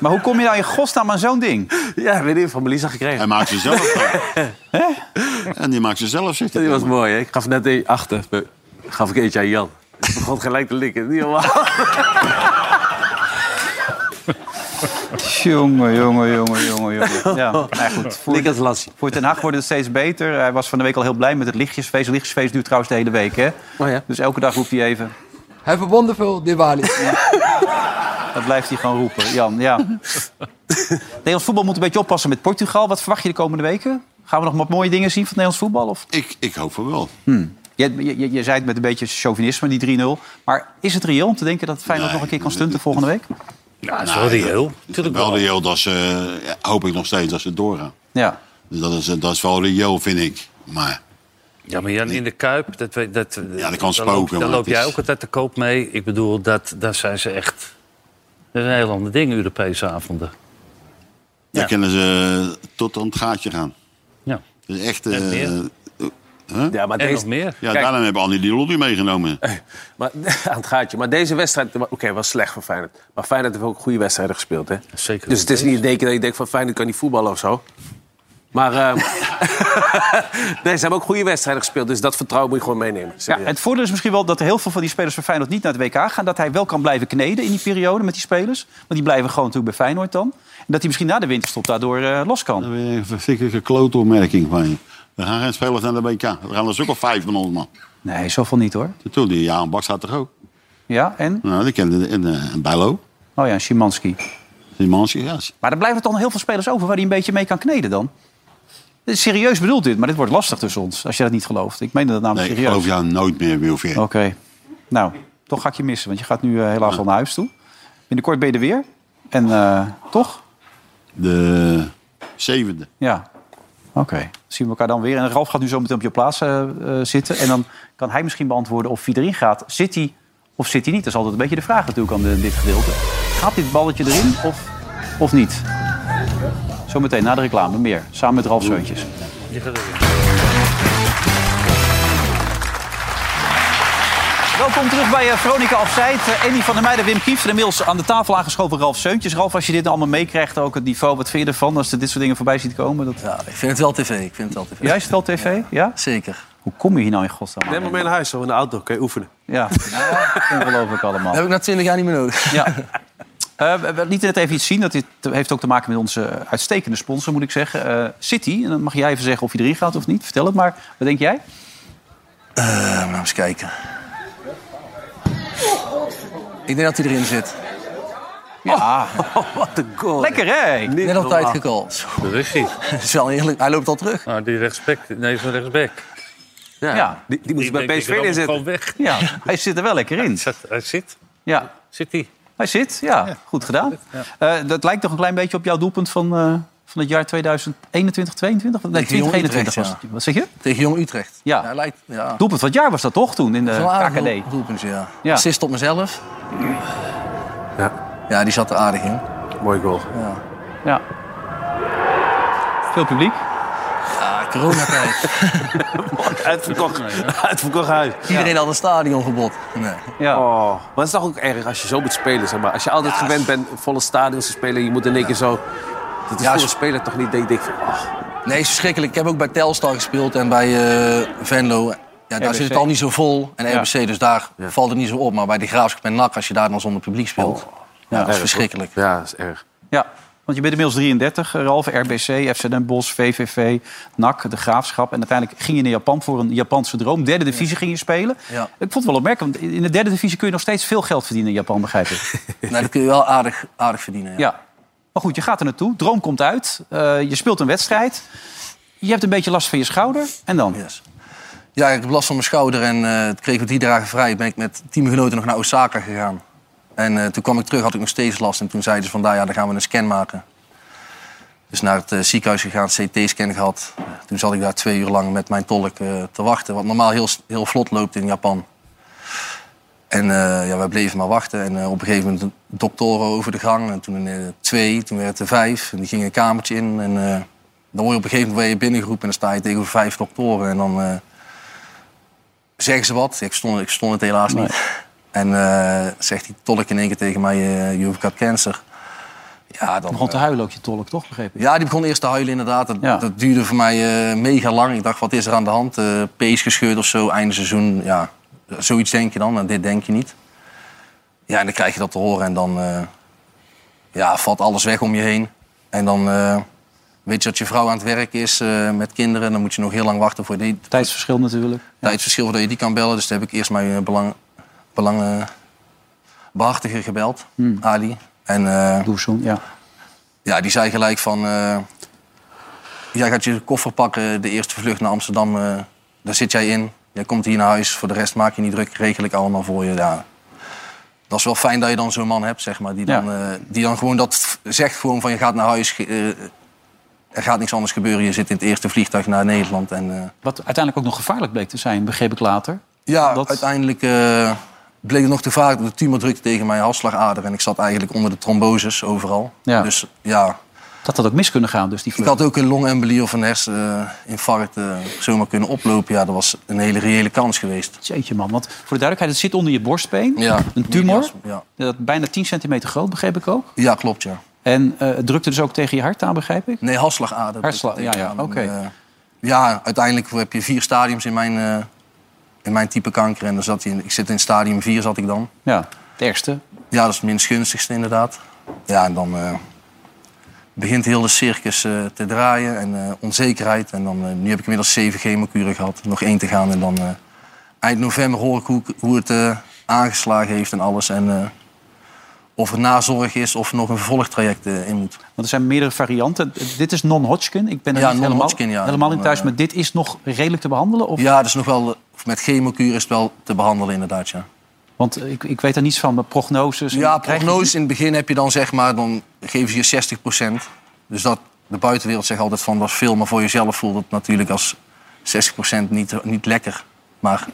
Maar hoe kom je nou in godsnaam aan zo'n ding?
Ja, weet je, van Melissa gekregen.
Hij maakt ze zelf. en die maakt ze zelf zitten.
Die was mooi, hè? Ik gaf net een achter. Eh, Gaf ik eentje aan Jan. Die begon gelijk te likken. Niet normaal.
Jongen, jongen, jongen, jongen, jongen.
Ja, nou ja, goed. Voor, voor Ten Hag wordt het steeds beter. Hij was van de week al heel blij met het lichtjesfeest. Het lichtjesfeest duurt trouwens de hele week, hè?
Oh
Dus elke dag roept hij even.
Have a wonderful Diwali.
Dat blijft hij gewoon roepen, Jan. Ja. Nederlands voetbal moet een beetje oppassen met Portugal. Wat verwacht je de komende weken? Gaan we nog wat mooie dingen zien van het Nederlands voetbal? Of? Hmm.
Ik, ik hoop van wel.
Je, je, je zei het met een beetje chauvinisme, die 3-0. Maar is het reëel om te denken dat Feyenoord nog een keer kan stunten volgende week?
Ja, dat is wel reëel.
Natuurlijk wel reëel. Dat ze, ja, hoop ik nog steeds dat ze doorgaan.
Ja.
Dus dat is, dat is wel reëel, vind ik. Maar
Ja, maar Jan, in de Kuip, dat, we- dat, ja,
kan spoken,
Loop,
maar
daar loop
dat
jij
is-
ook altijd te koop mee. Ik bedoel, dat, daar zijn ze echt... Dat is een heel ander ding, Europese avonden.
daar kunnen ze eh, tot aan het gaatje gaan.
Ja.
Dus echt...
En
eh,
meer.
eh, hè?
Ja, maar En deze- nog meer.
Ja,
Kijk.
daarom hebben Andy die Lolly meegenomen.
Maar, aan het gaatje. Maar deze wedstrijd oké, was slecht voor Feyenoord. Maar Feyenoord heeft ook goede wedstrijden gespeeld. Hè?
Zeker.
Dus het is niet denken dat je denkt van Feyenoord kan niet voetballen of zo. Maar ehm, nee, ze hebben ook goede wedstrijden gespeeld. Dus dat vertrouwen moet je gewoon meenemen.
Ja, het voordeel is misschien wel dat heel veel van die spelers van Feyenoord niet naar het WK gaan. Dat hij wel kan blijven kneden in die periode met die spelers. Want die blijven gewoon natuurlijk bij Feyenoord dan. En dat hij misschien na de winterstop daardoor eh, los kan.
Dat is een verschrikkelijke klote opmerking van je. We gaan geen spelers naar de WK. Er gaan dus ook al vijf van ons, man.
Nee, zoveel niet, hoor.
Toen die Jaan Baks had toch ook?
Ja, en?
Nou, die kende en, eh, en Bijlo.
Oh ja, Szymanski.
Szymanski, ja.
Maar er blijven toch nog heel veel spelers over waar hij een beetje mee kan kneden dan. Dit is Serieus bedoeld dit, maar dit wordt lastig tussen ons. Als je dat niet gelooft. Ik meen dat namelijk
Nee, ik
serieus.
geloof jou nooit meer, Wilfried.
Oké. Nou, toch ga ik je missen. Want je gaat nu eh, helaas al naar huis toe. Binnenkort ben je er weer. En eh, toch?
De zevende.
Ja. Oké. Zien we elkaar dan weer. En Ralf gaat nu zo meteen op je plaats eh, eh, zitten. En dan kan hij misschien beantwoorden of hij erin gaat. Zit hij of zit hij niet? Dat is altijd een beetje de vraag natuurlijk aan de- dit gedeelte. Gaat dit balletje erin of, of niet? Zometeen na de reclame meer. Samen met Ralf Zeuntjes.
Je gaat er weer.
Welkom terug bij eh, Veronica Afzijd. Eh, Andy van der Meijden, Wim Kieft. En inmiddels aan de tafel aangeschoven Ralf Seuntjes. Ralf, als je dit allemaal meekrijgt, ook het niveau, wat vind je ervan als je dit soort dingen voorbij ziet komen? Dat... Ja,
Ik vind het wel tv. Ik vind het wel tv.
Jij is het wel tv? Ja.
Zeker.
Hoe kom je hier nou in godsnaam?
Neem maar mee naar huis, zo in de auto. Kun je oefenen.
Ja, ongelooflijk allemaal.
Dat heb ik na 20 jaar niet meer nodig.
Ja. Eh, we- we lieten net even iets zien. Dat dit heeft ook te maken met onze uitstekende sponsor, moet ik zeggen. Eh, City. En dan mag jij even zeggen of je erin gaat of niet. Vertel het maar. Wat denk jij?
nou, eens kijken. Ik denk dat hij erin zit.
Ja.
wat een goal.
Lekker, hè?
Net op tijd
normaal.
gekald.
Dat is hij.
Dat is wel eerlijk. Hij loopt al terug.
Ah, die rechtsback. Nee, zo'n rechtsback.
Ja,
die,
die
dus
moet je bij PSV inzetten. Gewoon weg.
Ja, hij zit er wel lekker in.
Hij zit.
Ja.
Zit hij.
Hij zit, ja. Goed gedaan. Eh, dat lijkt toch een klein beetje op jouw doelpunt van, eh, van het jaar 2021, 22? Nee,
Tegen Jong
2021 was
Utrecht,
het. Wat zeg je?
Tegen Jong Utrecht.
Ja.
Hij lijkt, ja.
Doelpunt van het jaar was dat toch toen in de
Zo'n aardig
KKD?
doel- doelpunt, ja.
Ja.
Assist op mezelf.
Ja.
ja, die zat er aardig in.
Mooi goal.
Ja.
Ja. Veel publiek.
Ja, coronatijd.
Uitverkocht, uitverkocht huis.
Iedereen had een stadion gebod. Nee.
Ja.
Oh, maar het is toch ook erg als je zo moet spelen, zeg maar. Als je altijd gewend bent volle stadions te spelen... en je moet in één keer zo... Dat is
Ja,
voor
zo-
een speler toch niet... Denk, denk, van, oh.
Nee, is verschrikkelijk. Ik heb ook bij Telstar gespeeld en bij eh, Venlo. Ja, daar
RBC.
zit het al niet zo vol. En
Ja.
RBC, dus daar valt het niet zo op. Maar bij de Graafschap en NAC, als je daar dan zonder publiek speelt...
Oh.
ja, dat is verschrikkelijk.
Ja, dat is erg.
Ja, want je bent inmiddels 33. Ralf, RBC, FC Den Bosch, VVV, NAC, De Graafschap. En uiteindelijk ging je naar Japan voor een Japanse droom. Derde divisie ging je spelen.
Ja.
Ik vond het wel opmerkelijk, want in de derde divisie kun je nog steeds veel geld verdienen in Japan, begrijp ik.
Nou, dat kun je wel aardig, aardig verdienen. Ja.
Ja. Maar goed, je gaat er naartoe. Droom komt uit. Eh, je speelt een wedstrijd. Je hebt een beetje last van je schouder. En dan?
Ja, ik heb last van mijn schouder en eh, toen kreeg ik drie dagen vrij. Ben ik met teamgenoten nog naar Osaka gegaan. En eh, toen kwam ik terug, had ik nog steeds last. En toen zeiden ze van, daar, ja, dan gaan we een scan maken. Dus naar het eh, ziekenhuis gegaan, CT-scan gehad. Toen zat ik daar twee uur lang met mijn tolk eh, te wachten. Wat normaal heel, s- heel vlot loopt in Japan. En eh, ja, wij bleven maar wachten. En eh, op een gegeven moment een doktoren over de gang. En toen eh, twee, toen werd er vijf. En die gingen een kamertje in. En eh, dan word je op een gegeven moment word je binnengeroepen. En dan sta je tegenover vijf doktoren. En dan... eh, zeggen ze wat. Ik stond, ik stond het helaas niet. En eh, zegt die tolk in één keer tegen mij, eh je hebt cancer. Ja, dan, eh,
Begon te huilen ook je tolk, toch? Begreep ik.
ja, die begon eerst te huilen inderdaad. Dat, dat duurde voor mij eh, mega lang. Ik dacht, wat is er aan de hand? Eh pees gescheurd of zo, einde seizoen. Ja, zoiets denk je dan en dit denk je niet. Ja, en dan krijg je dat te horen en dan... eh, ja, valt alles weg om je heen. En dan eh, weet je dat je vrouw aan het werk is eh, met kinderen. Dan moet je nog heel lang wachten voor die
Tijdsverschil natuurlijk.
tijdsverschil voordat je die kan bellen. Dus daar heb ik eerst mijn eh, belang, belang, eh, behartiger gebeld,
Hmm.
Ali. En eh,
Doefzoen, ja.
ja, die zei gelijk van... eh, jij gaat je koffer pakken, de eerste vlucht naar Amsterdam. eh, daar zit jij in. Jij komt hier naar huis. Voor de rest maak je niet druk. Regel ik allemaal voor je. Ja. Dat is wel fijn dat je dan zo'n man hebt, zeg maar. Die dan, eh, die dan gewoon dat v- zegt gewoon van je gaat naar huis. ge- eh, er gaat niks anders gebeuren. Je zit in het eerste vliegtuig naar Nederland. En, eh,
Wat uiteindelijk ook nog gevaarlijk bleek te zijn, begreep ik later.
ja, uiteindelijk eh, bleek het nog te vaak. De tumor drukte tegen mijn halsslagader. En ik zat eigenlijk onder de tromboses overal.
Ja.
Dus ja.
Dat had ook mis kunnen gaan, dus die
Ik had ook een longembolie of een herseninfarct eh, zomaar kunnen oplopen. Ja, dat was een hele reële kans geweest.
Jeetje man, want voor de duidelijkheid, het zit onder je borstbeen.
Ja.
Een tumor,
Ja,
dat bijna 10 centimeter groot, begreep ik ook.
ja klopt, ja.
En eh, het drukte dus ook tegen je hart aan, begrijp ik?
Nee, halsslagader.
Hartslag, ja, ja, oké.
Eh, ja, uiteindelijk heb je vier stadiums in mijn, eh, in mijn type kanker. En dan zat hij in, ik zit in stadium 4 zat ik dan.
Ja, het ergste.
Ja, dat is het minst gunstigste inderdaad. Ja, en dan eh, begint heel de circus eh, te draaien en eh, onzekerheid. En dan, eh, nu heb ik inmiddels zeven chemokuren gehad, nog één te gaan. En dan eh, eind november hoor ik hoe, hoe het eh, aangeslagen heeft en alles. En eh, of er nazorg is of er nog een vervolgtraject eh, in moet.
Want er zijn meerdere varianten. Dit is non-Hodgkin. Ik ben er
Ja,
niet helemaal,
non-Hodgkin, ja.
helemaal in
Dan,
thuis.
eh,
Maar dit is nog redelijk te behandelen? Of?
Ja, dus nog wel, of met chemokuur is het wel te behandelen inderdaad, ja.
Want eh, ik, ik weet er niets van. Maar prognoses...
Ja,
krijg je
prognose in het begin heb je dan zeg maar, dan geven ze je 60%. Dus dat, de buitenwereld zegt altijd van dat is veel, maar voor jezelf voelt het natuurlijk als 60% niet, niet lekker. Maar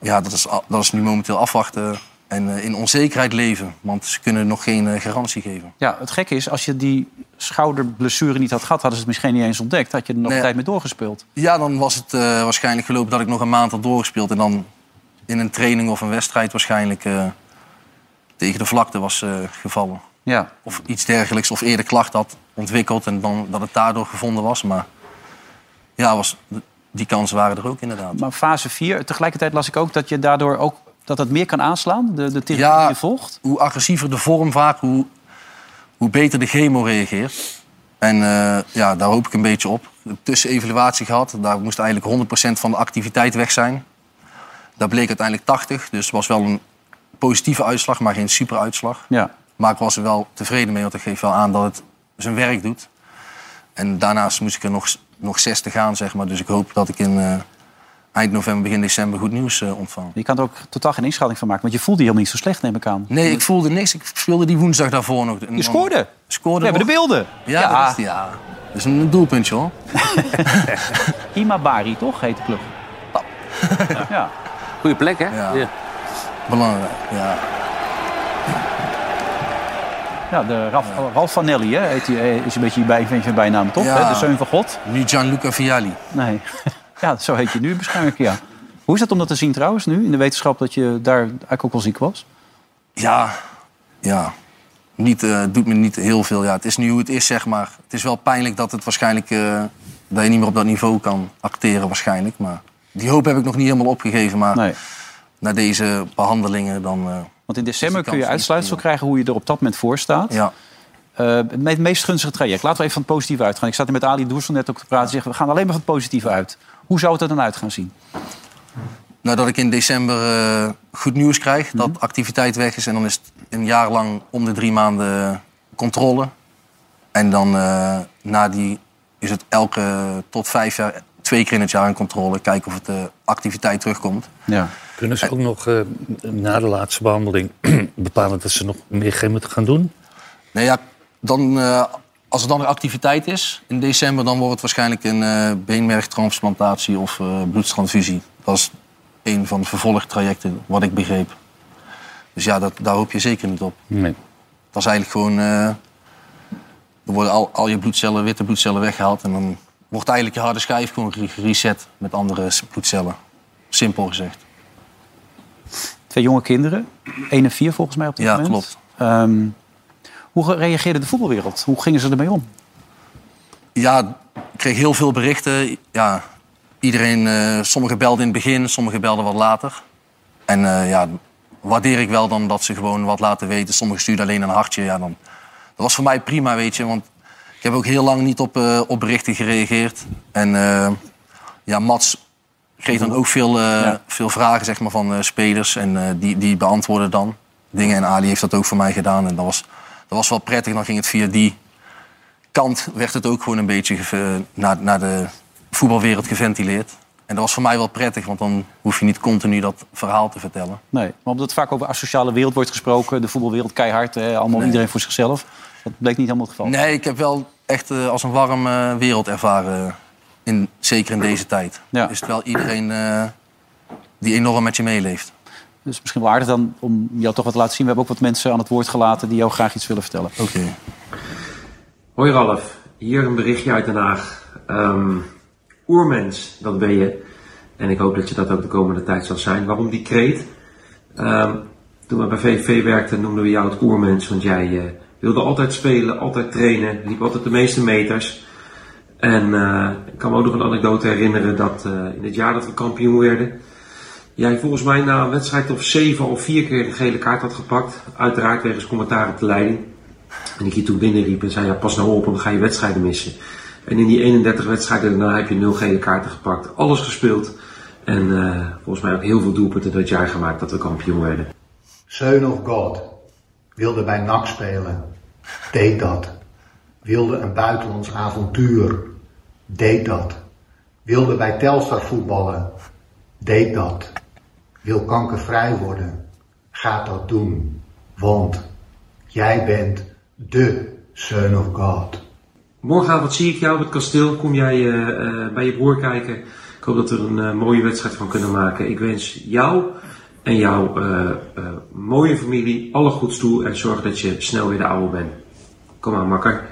ja, dat is, a- dat is nu momenteel afwachten en eh, in onzekerheid leven, want ze kunnen nog geen eh, garantie geven.
Ja, het gekke is, als je die schouderblessure niet had gehad... hadden ze het misschien niet eens ontdekt. Had je er nog
Nee.
tijd mee doorgespeeld.
Ja, dan was het eh, waarschijnlijk gelopen dat ik nog een maand had doorgespeeld en dan in een training of een wedstrijd waarschijnlijk eh, tegen de vlakte was eh, gevallen.
Ja.
Of iets dergelijks, of eerder klacht had ontwikkeld en dan dat het daardoor gevonden was. Maar ja, was, die kansen waren er ook inderdaad.
Maar fase 4, tegelijkertijd las ik ook dat je daardoor ook... dat dat meer kan aanslaan, de, de therapie die je volgt.
Hoe agressiever de vorm vaak, hoe, hoe beter de chemo reageert. En eh, ja, daar hoop ik een beetje op. Een tussenevaluatie gehad, daar moest eigenlijk 100% van de activiteit weg zijn. Daar bleek uiteindelijk 80, dus het was wel een positieve uitslag, maar geen super uitslag.
Ja.
Maar ik was er wel tevreden mee, want dat geeft wel aan dat het zijn werk doet. En daarnaast moest ik er nog, nog zes te gaan, zeg maar. Dus ik hoop dat ik in eh, eind november, begin december goed nieuws eh, ontvang.
Je kan er ook totaal geen inschatting van maken. Want je voelde je helemaal niet zo slecht, neem ik aan.
Nee, ik voelde niks. Ik speelde die woensdag daarvoor nog.
Je scoorde.
Scoorde
We hebben de
nog.
beelden.
Ja, Dat is, ja. Dat is een doelpuntje, hoor.
Imabari, toch, heet de club? ja.
Oh. Goeie plek, hè?
Ja. Belangrijk, ja.
Ja, de Ralf, Ralf Vanelli hè, heet die, eh, is een beetje je bij, vind je bijnaam, toch?
Ja.
Hè, De zoon van God?
Nu Gianluca Vialli.
Nee. ja, zo heet je nu waarschijnlijk, ja. Hoe is dat om dat te zien trouwens nu? In de wetenschap dat je daar eigenlijk ook wel ziek was?
Ja, ja. Niet, eh, doet me niet heel veel. Ja, het is nu hoe het is, zeg maar. Het is wel pijnlijk dat het waarschijnlijk... eh, dat je niet meer op dat niveau kan acteren, waarschijnlijk. Maar die hoop heb ik nog niet helemaal opgegeven. Maar na deze behandelingen dan... eh,
Want in december
die
kun je
kans niet
uitsluitsel krijgen hoe je er op dat moment voor staat.
Ja.
Eh, het me- het meest gunstige traject. Laten we even van het positieve uitgaan. Ik zat hier met Ali Doersel net ook te praten. Zeggen, we gaan alleen maar van het positieve uit. Hoe zou het er dan uit gaan zien?
Nadat Nou, ik in december eh, goed nieuws krijg, dat activiteit weg is. En dan is het een jaar lang om de drie maanden controle. En dan eh, na die is het elke tot vijf jaar, twee keer in het jaar een controle. Kijken of het eh, activiteit terugkomt.
Ja.
Kunnen ze ook nog eh, na de laatste behandeling bepalen dat ze nog meer chemo gaan doen?
Nee, ja, dan, eh, als er dan weer activiteit is in december, dan wordt het waarschijnlijk een eh, beenmergtransplantatie of eh, bloedtransfusie. Dat is een van de vervolgtrajecten, wat ik begreep. Dus ja, dat, daar hoop je zeker niet op.
Nee.
Dat is eigenlijk gewoon. eh, er worden al, al je bloedcellen, witte bloedcellen weggehaald. En dan wordt eigenlijk je harde schijf gewoon gere- gereset met andere s- bloedcellen. Simpel gezegd.
Twee jonge kinderen. 1 en 4 volgens mij op dit
Ja,
moment.
klopt.
Ehm, hoe ge- reageerde de voetbalwereld? Hoe gingen ze ermee om?
Ja, ik kreeg heel veel berichten. Ja, iedereen, eh, sommigen belden in het begin, sommigen belden wat later. En eh, ja, waardeer ik wel dan dat ze gewoon wat laten weten. Sommigen sturen alleen een hartje. Ja, dan was voor mij prima, weet je. Want ik heb ook heel lang niet op, eh op berichten gereageerd. En eh, ja, Mats kreeg dan ook veel, eh, veel vragen zeg maar, van eh, spelers. En eh, die, die beantwoorden dan dingen. En Ali heeft dat ook voor mij gedaan. En dat was, dat was wel prettig. Dan ging het via die kant werd het ook gewoon een beetje geve- naar, naar de voetbalwereld geventileerd. En dat was voor mij wel prettig, want dan hoef je niet continu dat verhaal te vertellen.
Nee, maar omdat vaak over asociale wereld wordt gesproken, de voetbalwereld keihard, hè, allemaal iedereen voor zichzelf. Dat bleek niet helemaal het geval.
Nee, ik heb wel echt eh, als een warm eh, wereld ervaren. In, zeker in deze tijd. Is het wel iedereen eh, die enorm met je meeleeft.
Dus misschien wel aardig dan om jou toch wat te laten zien. We hebben ook wat mensen aan het woord gelaten die jou graag iets willen vertellen. Oké.
Hoi Ralf, hier een berichtje uit Den Haag. Ehm, oermens, dat ben je. En ik hoop dat je dat ook de komende tijd zal zijn. Waarom die kreet? Ehm, toen we bij VVV werkten noemden we jou het oermens, want jij eh, wilde altijd spelen, altijd trainen, liep altijd de meeste meters. En eh, ik kan me ook nog een anekdote herinneren dat eh, in het jaar dat we kampioen werden, jij volgens mij na een wedstrijd of zeven of vier keer een gele kaart had gepakt. Uiteraard wegens commentaar op de leiding. En ik je toen binnenriep en zei, ja, pas nou op, want dan ga je wedstrijden missen. En in die 31 wedstrijden daarna heb je nul gele kaarten gepakt. Alles gespeeld. En eh, volgens mij ook heel veel doelpunten dat jaar gemaakt dat we kampioen werden.
Son of God wilde bij NAC spelen, deed dat. Wilde een buitenlands avontuur, deed dat. Wilde bij Telstar voetballen, deed dat. Wil kankervrij worden, gaat dat doen. Want jij bent de Son of God.
Morgenavond zie ik jou op het kasteel. Kom jij eh, eh, bij je broer kijken. Ik hoop dat we er een eh, mooie wedstrijd van kunnen maken. Ik wens jou en jouw eh, eh, mooie familie alle goeds toe. En zorg dat je snel weer de oude bent. Kom aan, makker.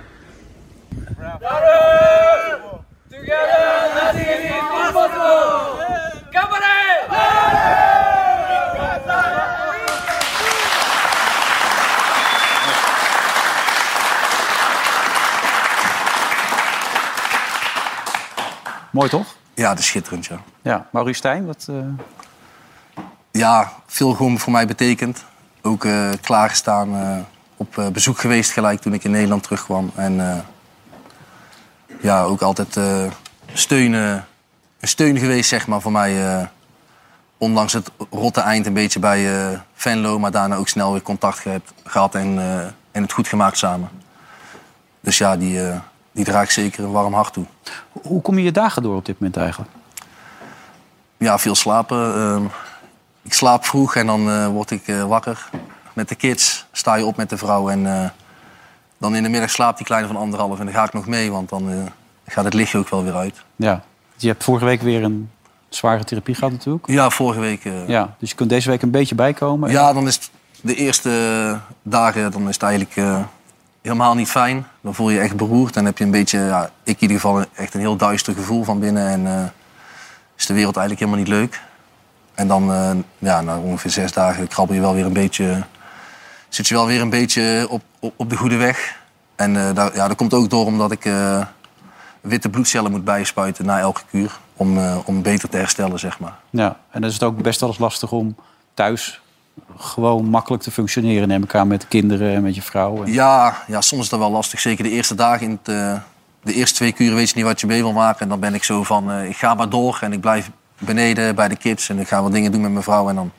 Mooi toch?
Ja, dat is schitterend, ja.
Ja, Maurice Stijn, wat... eh,
ja, veel gewoon voor mij betekent. Ook eh, klaargestaan, eh, op eh, bezoek geweest gelijk toen ik in Nederland terugkwam. En eh, ja, ook altijd eh, steun, eh, een steun geweest, zeg maar, voor mij. eh, ondanks het rotte eind een beetje bij eh, Venlo, maar daarna ook snel weer contact ge- gehad en, eh, en het goed gemaakt samen. Dus ja, die, eh, die draag ik zeker een warm hart toe.
Hoe kom je je dagen door op dit moment eigenlijk?
Ja, veel slapen. Ehm, ik slaap vroeg en dan eh, word ik eh, wakker. Met de kids sta je op met de vrouw. En eh, dan in de middag slaapt die kleine van anderhalf. En dan ga ik nog mee, want dan eh, gaat het lichtje ook wel weer uit.
Ja, je hebt vorige week weer een zware therapie gehad natuurlijk.
Ja, vorige week. eh,
Ja, dus je kunt deze week een beetje bijkomen.
Ja, dan is het de eerste dagen dan is het eigenlijk eh, helemaal niet fijn. Dan voel je je echt beroerd. Dan heb je een beetje, ja, ik in ieder geval, echt een heel duister gevoel van binnen. En eh, is de wereld eigenlijk helemaal niet leuk. En dan, eh, ja, na ongeveer zes dagen krabbel je wel weer een beetje... Zit je wel weer een beetje op, op, op de goede weg. En eh, daar, ja, dat komt ook door omdat ik eh, witte bloedcellen moet bijspuiten na elke kuur. Om, eh, om beter te herstellen, zeg maar.
Ja, en dan is het ook best wel eens lastig om thuis gewoon makkelijk te functioneren, neem ik aan, met de kinderen en met je vrouw. En...
Ja, ja, soms is dat wel lastig. Zeker de eerste dagen, in het, eh, de eerste twee kuren weet je niet wat je mee wil maken. En dan ben ik zo van, eh, ik ga maar door en ik blijf beneden bij de kids. En ik ga wat dingen doen met mijn vrouw. En dan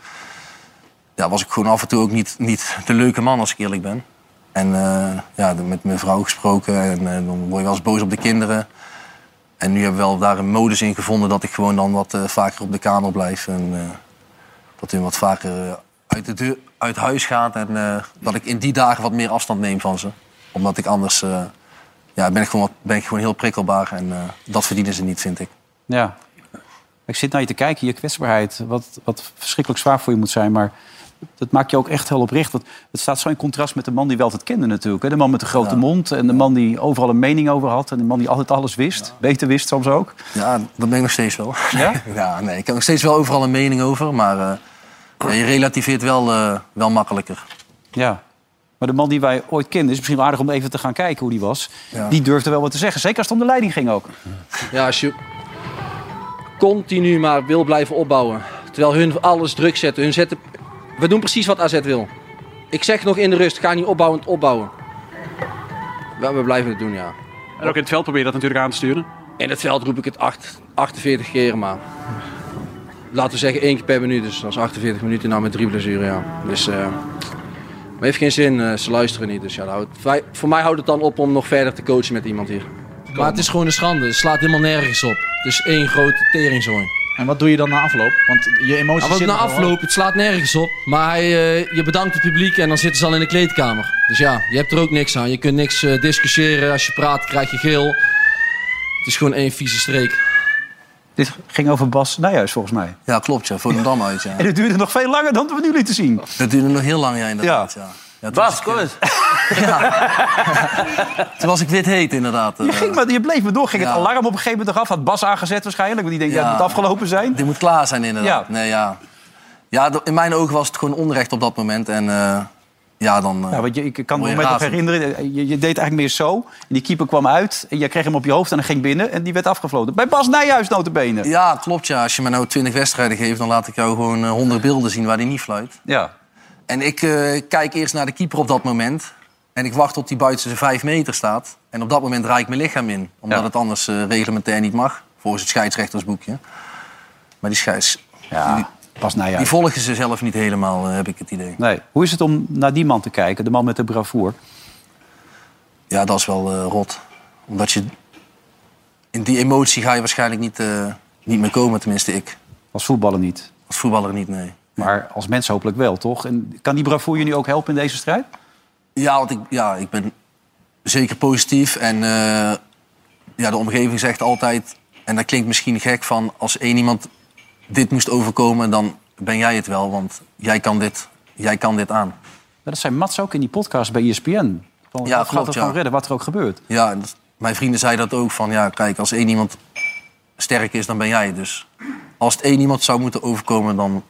ja, was ik gewoon af en toe ook niet, niet de leuke man, als ik eerlijk ben. En eh, ja, de- met mijn vrouw gesproken. En eh, dan word je wel eens boos op de kinderen. En nu hebben we wel daar een modus in gevonden dat ik gewoon dan wat eh, vaker op de kamer blijf. En eh, dat hun wat vaker eh, uit, de deur, uit huis gaat. En eh, dat ik in die dagen wat meer afstand neem van ze. Omdat ik anders eh, ja, ben, ik gewoon, wat- ben ik gewoon heel prikkelbaar. En eh, dat verdienen ze niet, vind ik.
Ja. Ik zit naar je te kijken, je kwetsbaarheid, wat, wat verschrikkelijk zwaar voor je moet zijn, maar dat maakt je ook echt heel oprecht. Want het staat zo in contrast met de man die wel het kende natuurlijk. Hè? De man met de grote mond en de man die overal een mening over had en de man die altijd alles wist, beter wist soms ook.
Ja, dat ben ik nog steeds wel. Ja? ja, nee. Ik heb nog steeds wel overal een mening over. Maar eh, ja, je relativeert wel, eh, wel makkelijker.
Ja. Maar de man die wij ooit kenden, is misschien wel aardig om even te gaan kijken hoe die was.
Ja.
Die durfde wel wat te zeggen. Zeker als het om de leiding ging ook.
Ja, als je continu maar wil blijven opbouwen. Terwijl hun alles druk zetten. Hun zetten... We doen precies wat AZ wil. Ik zeg nog in de rust, ga niet opbouwend opbouwen.
We, we blijven het doen, ja.
En ook in het veld probeer je dat natuurlijk aan te sturen.
In het veld roep ik het acht- 48 keer, maar laten we zeggen één keer per minuut. Dus dat is 48 minuten nou met drie blessuren, ja. Dus, eh, maar heeft geen zin, eh, ze luisteren niet. Dus ja, dat houdt- wij- voor mij houdt het dan op om nog verder te coachen met iemand hier. Maar het is gewoon een schande. Het slaat helemaal nergens op. Het is één grote teringzooi.
En wat doe je dan na afloop? Want je emoties
Ja, want
zitten
na
er wel
afloop, het slaat nergens op. Maar hij, eh, je bedankt het publiek en dan zitten ze al in de kleedkamer. Dus ja, je hebt er ook niks aan. Je kunt niks eh, discussiëren. Als je praat, krijg je geel. Het is gewoon één vieze streek.
Dit ging over Bas Nijhuis volgens mij.
Ja, klopt. Ja. Volendam uit, ja.
En het duurde nog veel langer dan we nu lieten zien.
Dat duurde nog heel lang, ja, inderdaad. Ja.
Bas, kom eens.
Toen was ik wit heet, inderdaad. eh,
Je, ging maar, je bleef maar door. Ging het alarm op een gegeven moment nog af? Had Bas aangezet waarschijnlijk? Want die denkt, ja, het moet afgelopen zijn.
Die moet klaar zijn, inderdaad.
Ja.
Nee, ja. Ja, d- in mijn ogen was het gewoon onrecht op dat moment. En eh, ja, dan... eh,
Ja, Nou, want je, ik kan me
word
moment
je
nog
razend.
herinneren, je, je deed eigenlijk meer zo. En die keeper kwam uit, en jij kreeg hem op je hoofd en hij ging binnen. En die werd afgefloten. Bij Bas Nijhuis notabene.
Ja, klopt ja. Als je me nou 20 wedstrijden geeft, dan laat ik jou gewoon eh, 100 beelden zien waar die niet fluit.
Ja.
En ik eh, kijk eerst naar de keeper op dat moment. En ik wacht tot die buiten zijn 5 meter staat. En op dat moment draai ik mijn lichaam in. Omdat het anders eh, reglementair niet mag. Volgens het scheidsrechtersboekje. Maar die scheids...
Ja, Bas Nijhuis.
Die volgen ze zelf niet helemaal, eh, heb ik het idee.
Nee. Hoe is het om naar die man te kijken, de man met de bravoer?
Ja, dat is wel eh, rot. Omdat je... In die emotie ga je waarschijnlijk niet, eh, niet meer komen. Tenminste, ik.
Als voetballer niet.
Als voetballer niet, nee.
Maar als mens hopelijk wel, toch? En kan die bravoer je nu ook helpen in deze strijd?
Ja, want ik, ja, ik ben zeker positief. En eh, ja, de omgeving zegt altijd... En dat klinkt misschien gek van... Als één iemand dit moest overkomen, dan ben jij het wel. Want jij kan dit, jij kan dit aan.
Maar dat zei Mats ook in die podcast bij E ESPN. Van,
Ja,
dat gaat
klopt,
het
ja.
gewoon redden, wat er ook gebeurt.
Ja, en dat- mijn vrienden zeiden dat ook. Van ja, kijk, als één iemand sterk is, dan ben jij het dus. Als het één iemand zou moeten overkomen, dan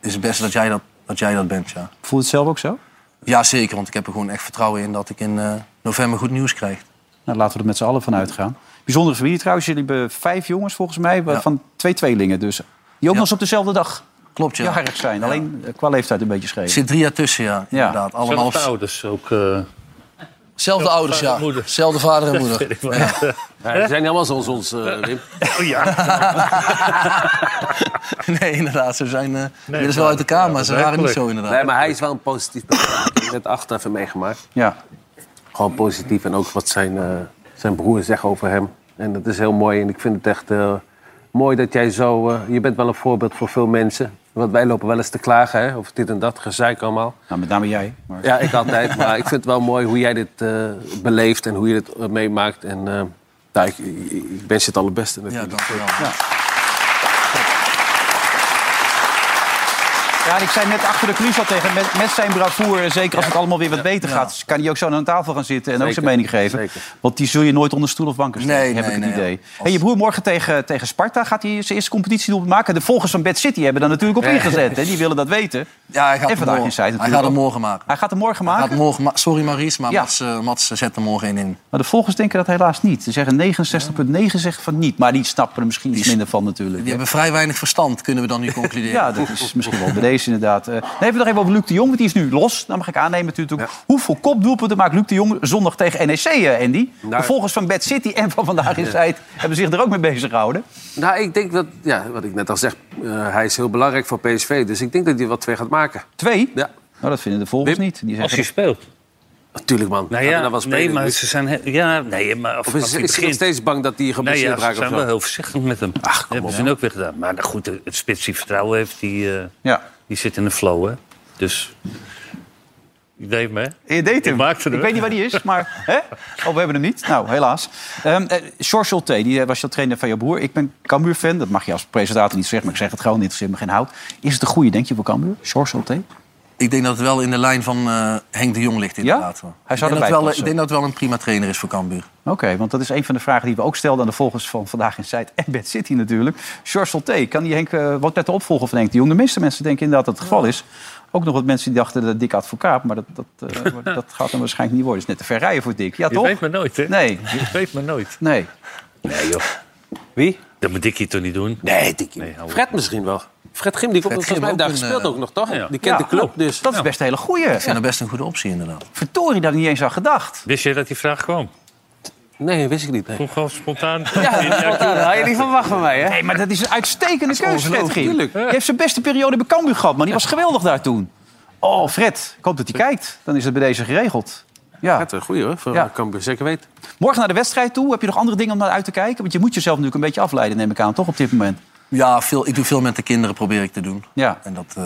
is het beste dat jij dat, dat, jij dat bent, ja.
Voel je het zelf ook zo?
Ja, zeker. Want ik heb er gewoon echt vertrouwen in dat ik in eh, november goed nieuws krijg.
Nou, laten we er met z'n allen van uitgaan. Bijzondere familie trouwens. Jullie hebben vijf jongens volgens mij, van twee tweelingen dus. Die ook nog eens op dezelfde dag
Klopt, ja.
jarig zijn. Alleen eh, qua leeftijd een beetje
Er
scheef.
zit drie jaar tussen, ja. Inderdaad. Allemaal
Zelfde ouders ook.
eh, Zelfde ouders, ja. Zelfde vader en
Dat weet ik wel.
moeder. Ja.
Ja, die zijn niet allemaal zoals ons, eh, Wim.
Oh ja.
Nee, inderdaad. Ze zijn eh inmiddels wel uit elkaar, maar ze waren niet zo inderdaad.
Nee, maar hij is wel een positief persoon. Ik heb net achter even meegemaakt.
Ja.
Gewoon positief en ook wat zijn, eh, zijn broer zegt over hem. En dat is heel mooi. En ik vind het echt eh, mooi dat jij zo... eh, je bent wel een voorbeeld voor veel mensen. Want wij lopen wel eens te klagen hè, over dit en dat gezeik allemaal.
Nou, met name jij. Maar...
Ja, ik altijd. Maar ik vind het wel mooi hoe jij dit eh, beleeft en hoe je dit eh, meemaakt. En eh, nou, ik, ik, ik wens je het allerbeste natuurlijk.
Ja.
Ja, en ik zei net achter de coulissen al tegen, met, met zijn bravoer, eh, zeker als het allemaal weer wat beter gaat, kan hij ook zo aan tafel gaan zitten en ook
Zeker,
zijn mening geven. Want die zul je nooit onder stoel of banken steken,
Nee,
heb
nee,
ik het
nee,
idee. En je broer morgen tegen, tegen Sparta gaat hij zijn eerste competitie maken. De volgers van Bad City hebben daar natuurlijk op
Ja.
ingezet. Hè? Die willen dat weten.
Ja, hij gaat
en
hem
vandaag
morgen-
in Zuid
hij
natuurlijk
gaat hem
ook.
morgen maken.
Hij gaat hem morgen maken.
Gaat morgen ma- Sorry Maries, maar
Ja.
Mats, eh, Mats zet er morgen één in.
Maar de volgers denken dat helaas niet. Ze zeggen 69,9 zeggen van niet. Maar die snappen er misschien iets minder van natuurlijk.
Die hebben vrij weinig verstand, kunnen we dan nu concluderen.
Ja, dat is misschien wel bij deze inderdaad. Eh, Dan hebben we nog even over Luc de Jong, want die is nu los. Dan mag ik aannemen natuurlijk. Hoeveel kopdoelpunten maakt Luc de Jong zondag tegen NEC, eh, Andy? De volgers van Bad City en van Vandaag in
Ja.
Zuid hebben zich er ook mee bezig gehouden.
Nou, ik denk dat, ja, wat ik net al zeg, eh, hij is heel belangrijk voor PSV. Dus ik denk dat hij wat twee gaat maken.
Twee?
Ja.
Nou, dat vinden de volgers niet. Die
als je
speelt.
Natuurlijk, man.
Nou
Gaat
ja,
er dan wel
nee,
spelen
maar
nu?
ze zijn... he- Ja, nee, maar...
Of is-
als hij
is hij nog
begint-
steeds bang dat hij
Nee,
geblesseerd
ja, ze
raakt?
zijn
of zo?
wel heel voorzichtig met hem. Ach, kom hebben ze nu ook weer gedaan. Maar nou goed, de- het spits die vertrouwen heeft, die, eh, die zit in de flow, hè. Dus... Ik deed hem, hè?
Je deed hem.
Ik maakte hem.
Ik weet niet waar die is, maar... Hè? Oh, we hebben hem niet. Nou, helaas. Ehm eh, George Schulte, die eh, was jouw trainer van jouw broer. Ik ben Cambuur-fan. Dat mag je als presentator niet zeggen, maar ik zeg het gewoon. Interesseert me geen hout. Is het een goede, denk je, voor Cambuur? George Schulte?
Ik denk dat het wel in de lijn van eh, Henk de Jong ligt inderdaad. hoor.
Hij zou
ik, denk dat
erbij
wel,
passen.
ik denk dat het wel een prima trainer is voor Cambuur.
Oké, want dat is een van de vragen die we ook stelden aan de volgers van Vandaag in Zuid en Bad City natuurlijk. George Solté, kan die Henk, eh, wordt net de opvolger van Henk de Jong? De meeste mensen denken inderdaad dat het geval is. Ook nog wat mensen die dachten dat Dick advocaat, maar dat, dat, eh, wordt- dat gaat hem waarschijnlijk niet worden. Het is net te ver rijden voor Dick. Ja,
Je
toch?
weet maar nooit, hè?
Nee.
Je weet maar nooit.
Nee.
Nee, joh.
Wie?
Dat moet Dikkie toch niet doen?
Nee, Dikkie.
hou op.
Fred misschien wel. Fred Grim, die komt
Fred
volgens mij
Grim
daar
ook een,
gespeeld
eh,
ook nog, toch?
ja.
Die kent
Ja,
de club,
klopt.
dus...
Dat is best een hele goeie.
Ik vind dat best een goede optie inderdaad.
Verdorie, dat ik niet eens aan gedacht.
Wist je dat die vraag kwam?
Nee, wist ik niet. Nee.
Kom gewoon spontaan.
Ja, dat had je niet van wacht van mij, hè? Nee, maar dat is een uitstekende keuze, Fred Grim.
tuurlijk.
Die heeft zijn beste periode bij Cambuur gehad, man. Die was geweldig daar toen. Oh, Fred, ik hoop dat hij kijkt. Dan is het bij deze geregeld. Ja.
Fred, een goeie hoor, voor
Ja.
ja. Cambuur, zeker weten.
Morgen naar de wedstrijd toe. Heb je nog andere dingen om naar uit te kijken? Want je moet jezelf natuurlijk een beetje afleiden, neem ik aan, toch, op dit moment?
Ja, veel, ik doe veel met de kinderen, probeer ik te doen.
Ja.
En dat eh,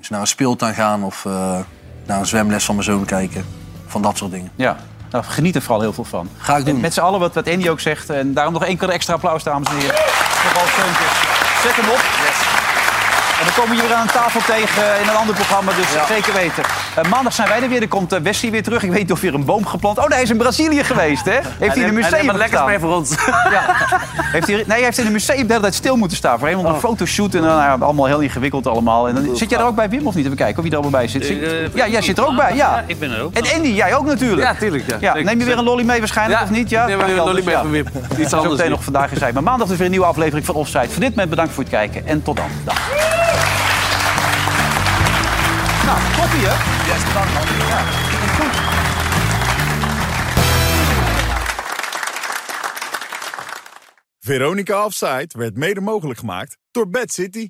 is naar een speeltuin gaan of eh, naar een zwemles van mijn zoon kijken. Van dat soort dingen.
Ja, nou, geniet er vooral heel veel van.
Ga ik doen.
En met z'n allen wat, wat Andy ook zegt. En daarom nog één keer extra applaus, dames en heren. Voor Ralf Steuntjes. Zet hem op. En dan komen we je weer aan tafel tegen eh, in een ander programma, dus zeker weten. Eh, maandag zijn wij er weer, dan komt eh, Wesley weer terug. Ik weet niet of weer een boom geplant. Oh, nee, hij is in Brazilië geweest, hè? Heeft hij in een museum
wat lekkers
gestaan.
mee voor ons.
Heeft hij, nee, hij heeft in een museum de hele tijd stil moeten staan. Voor helemaal een fotoshoot en dan, nou, allemaal heel ingewikkeld allemaal. En dan, zit jij er ook bij, Wim, of niet? Even kijken of je er allemaal bij zit. Zit- ja, jij zit er ook bij, ja.
eh, Ik ben er ook.
En Andy, jij ook natuurlijk.
Ja, tuurlijk. Ja.
Ja, neem je weer een lolly mee waarschijnlijk,
Ja,
of niet? Ja,
ik neem weer een
Ja,
lolly
dus
mee
ja.
van Wim. Iets
Zo
anders
meteen
niet.
nog vandaag in zijn. Maar maandag is weer een nieuwe aflevering van Offside. Voor dit moment bedankt voor het kijken en tot dan. Dag. Nou, koffie hè? Yes, bedankt man. Ja, goed.
Veronica Offside werd mede mogelijk gemaakt door Bad City.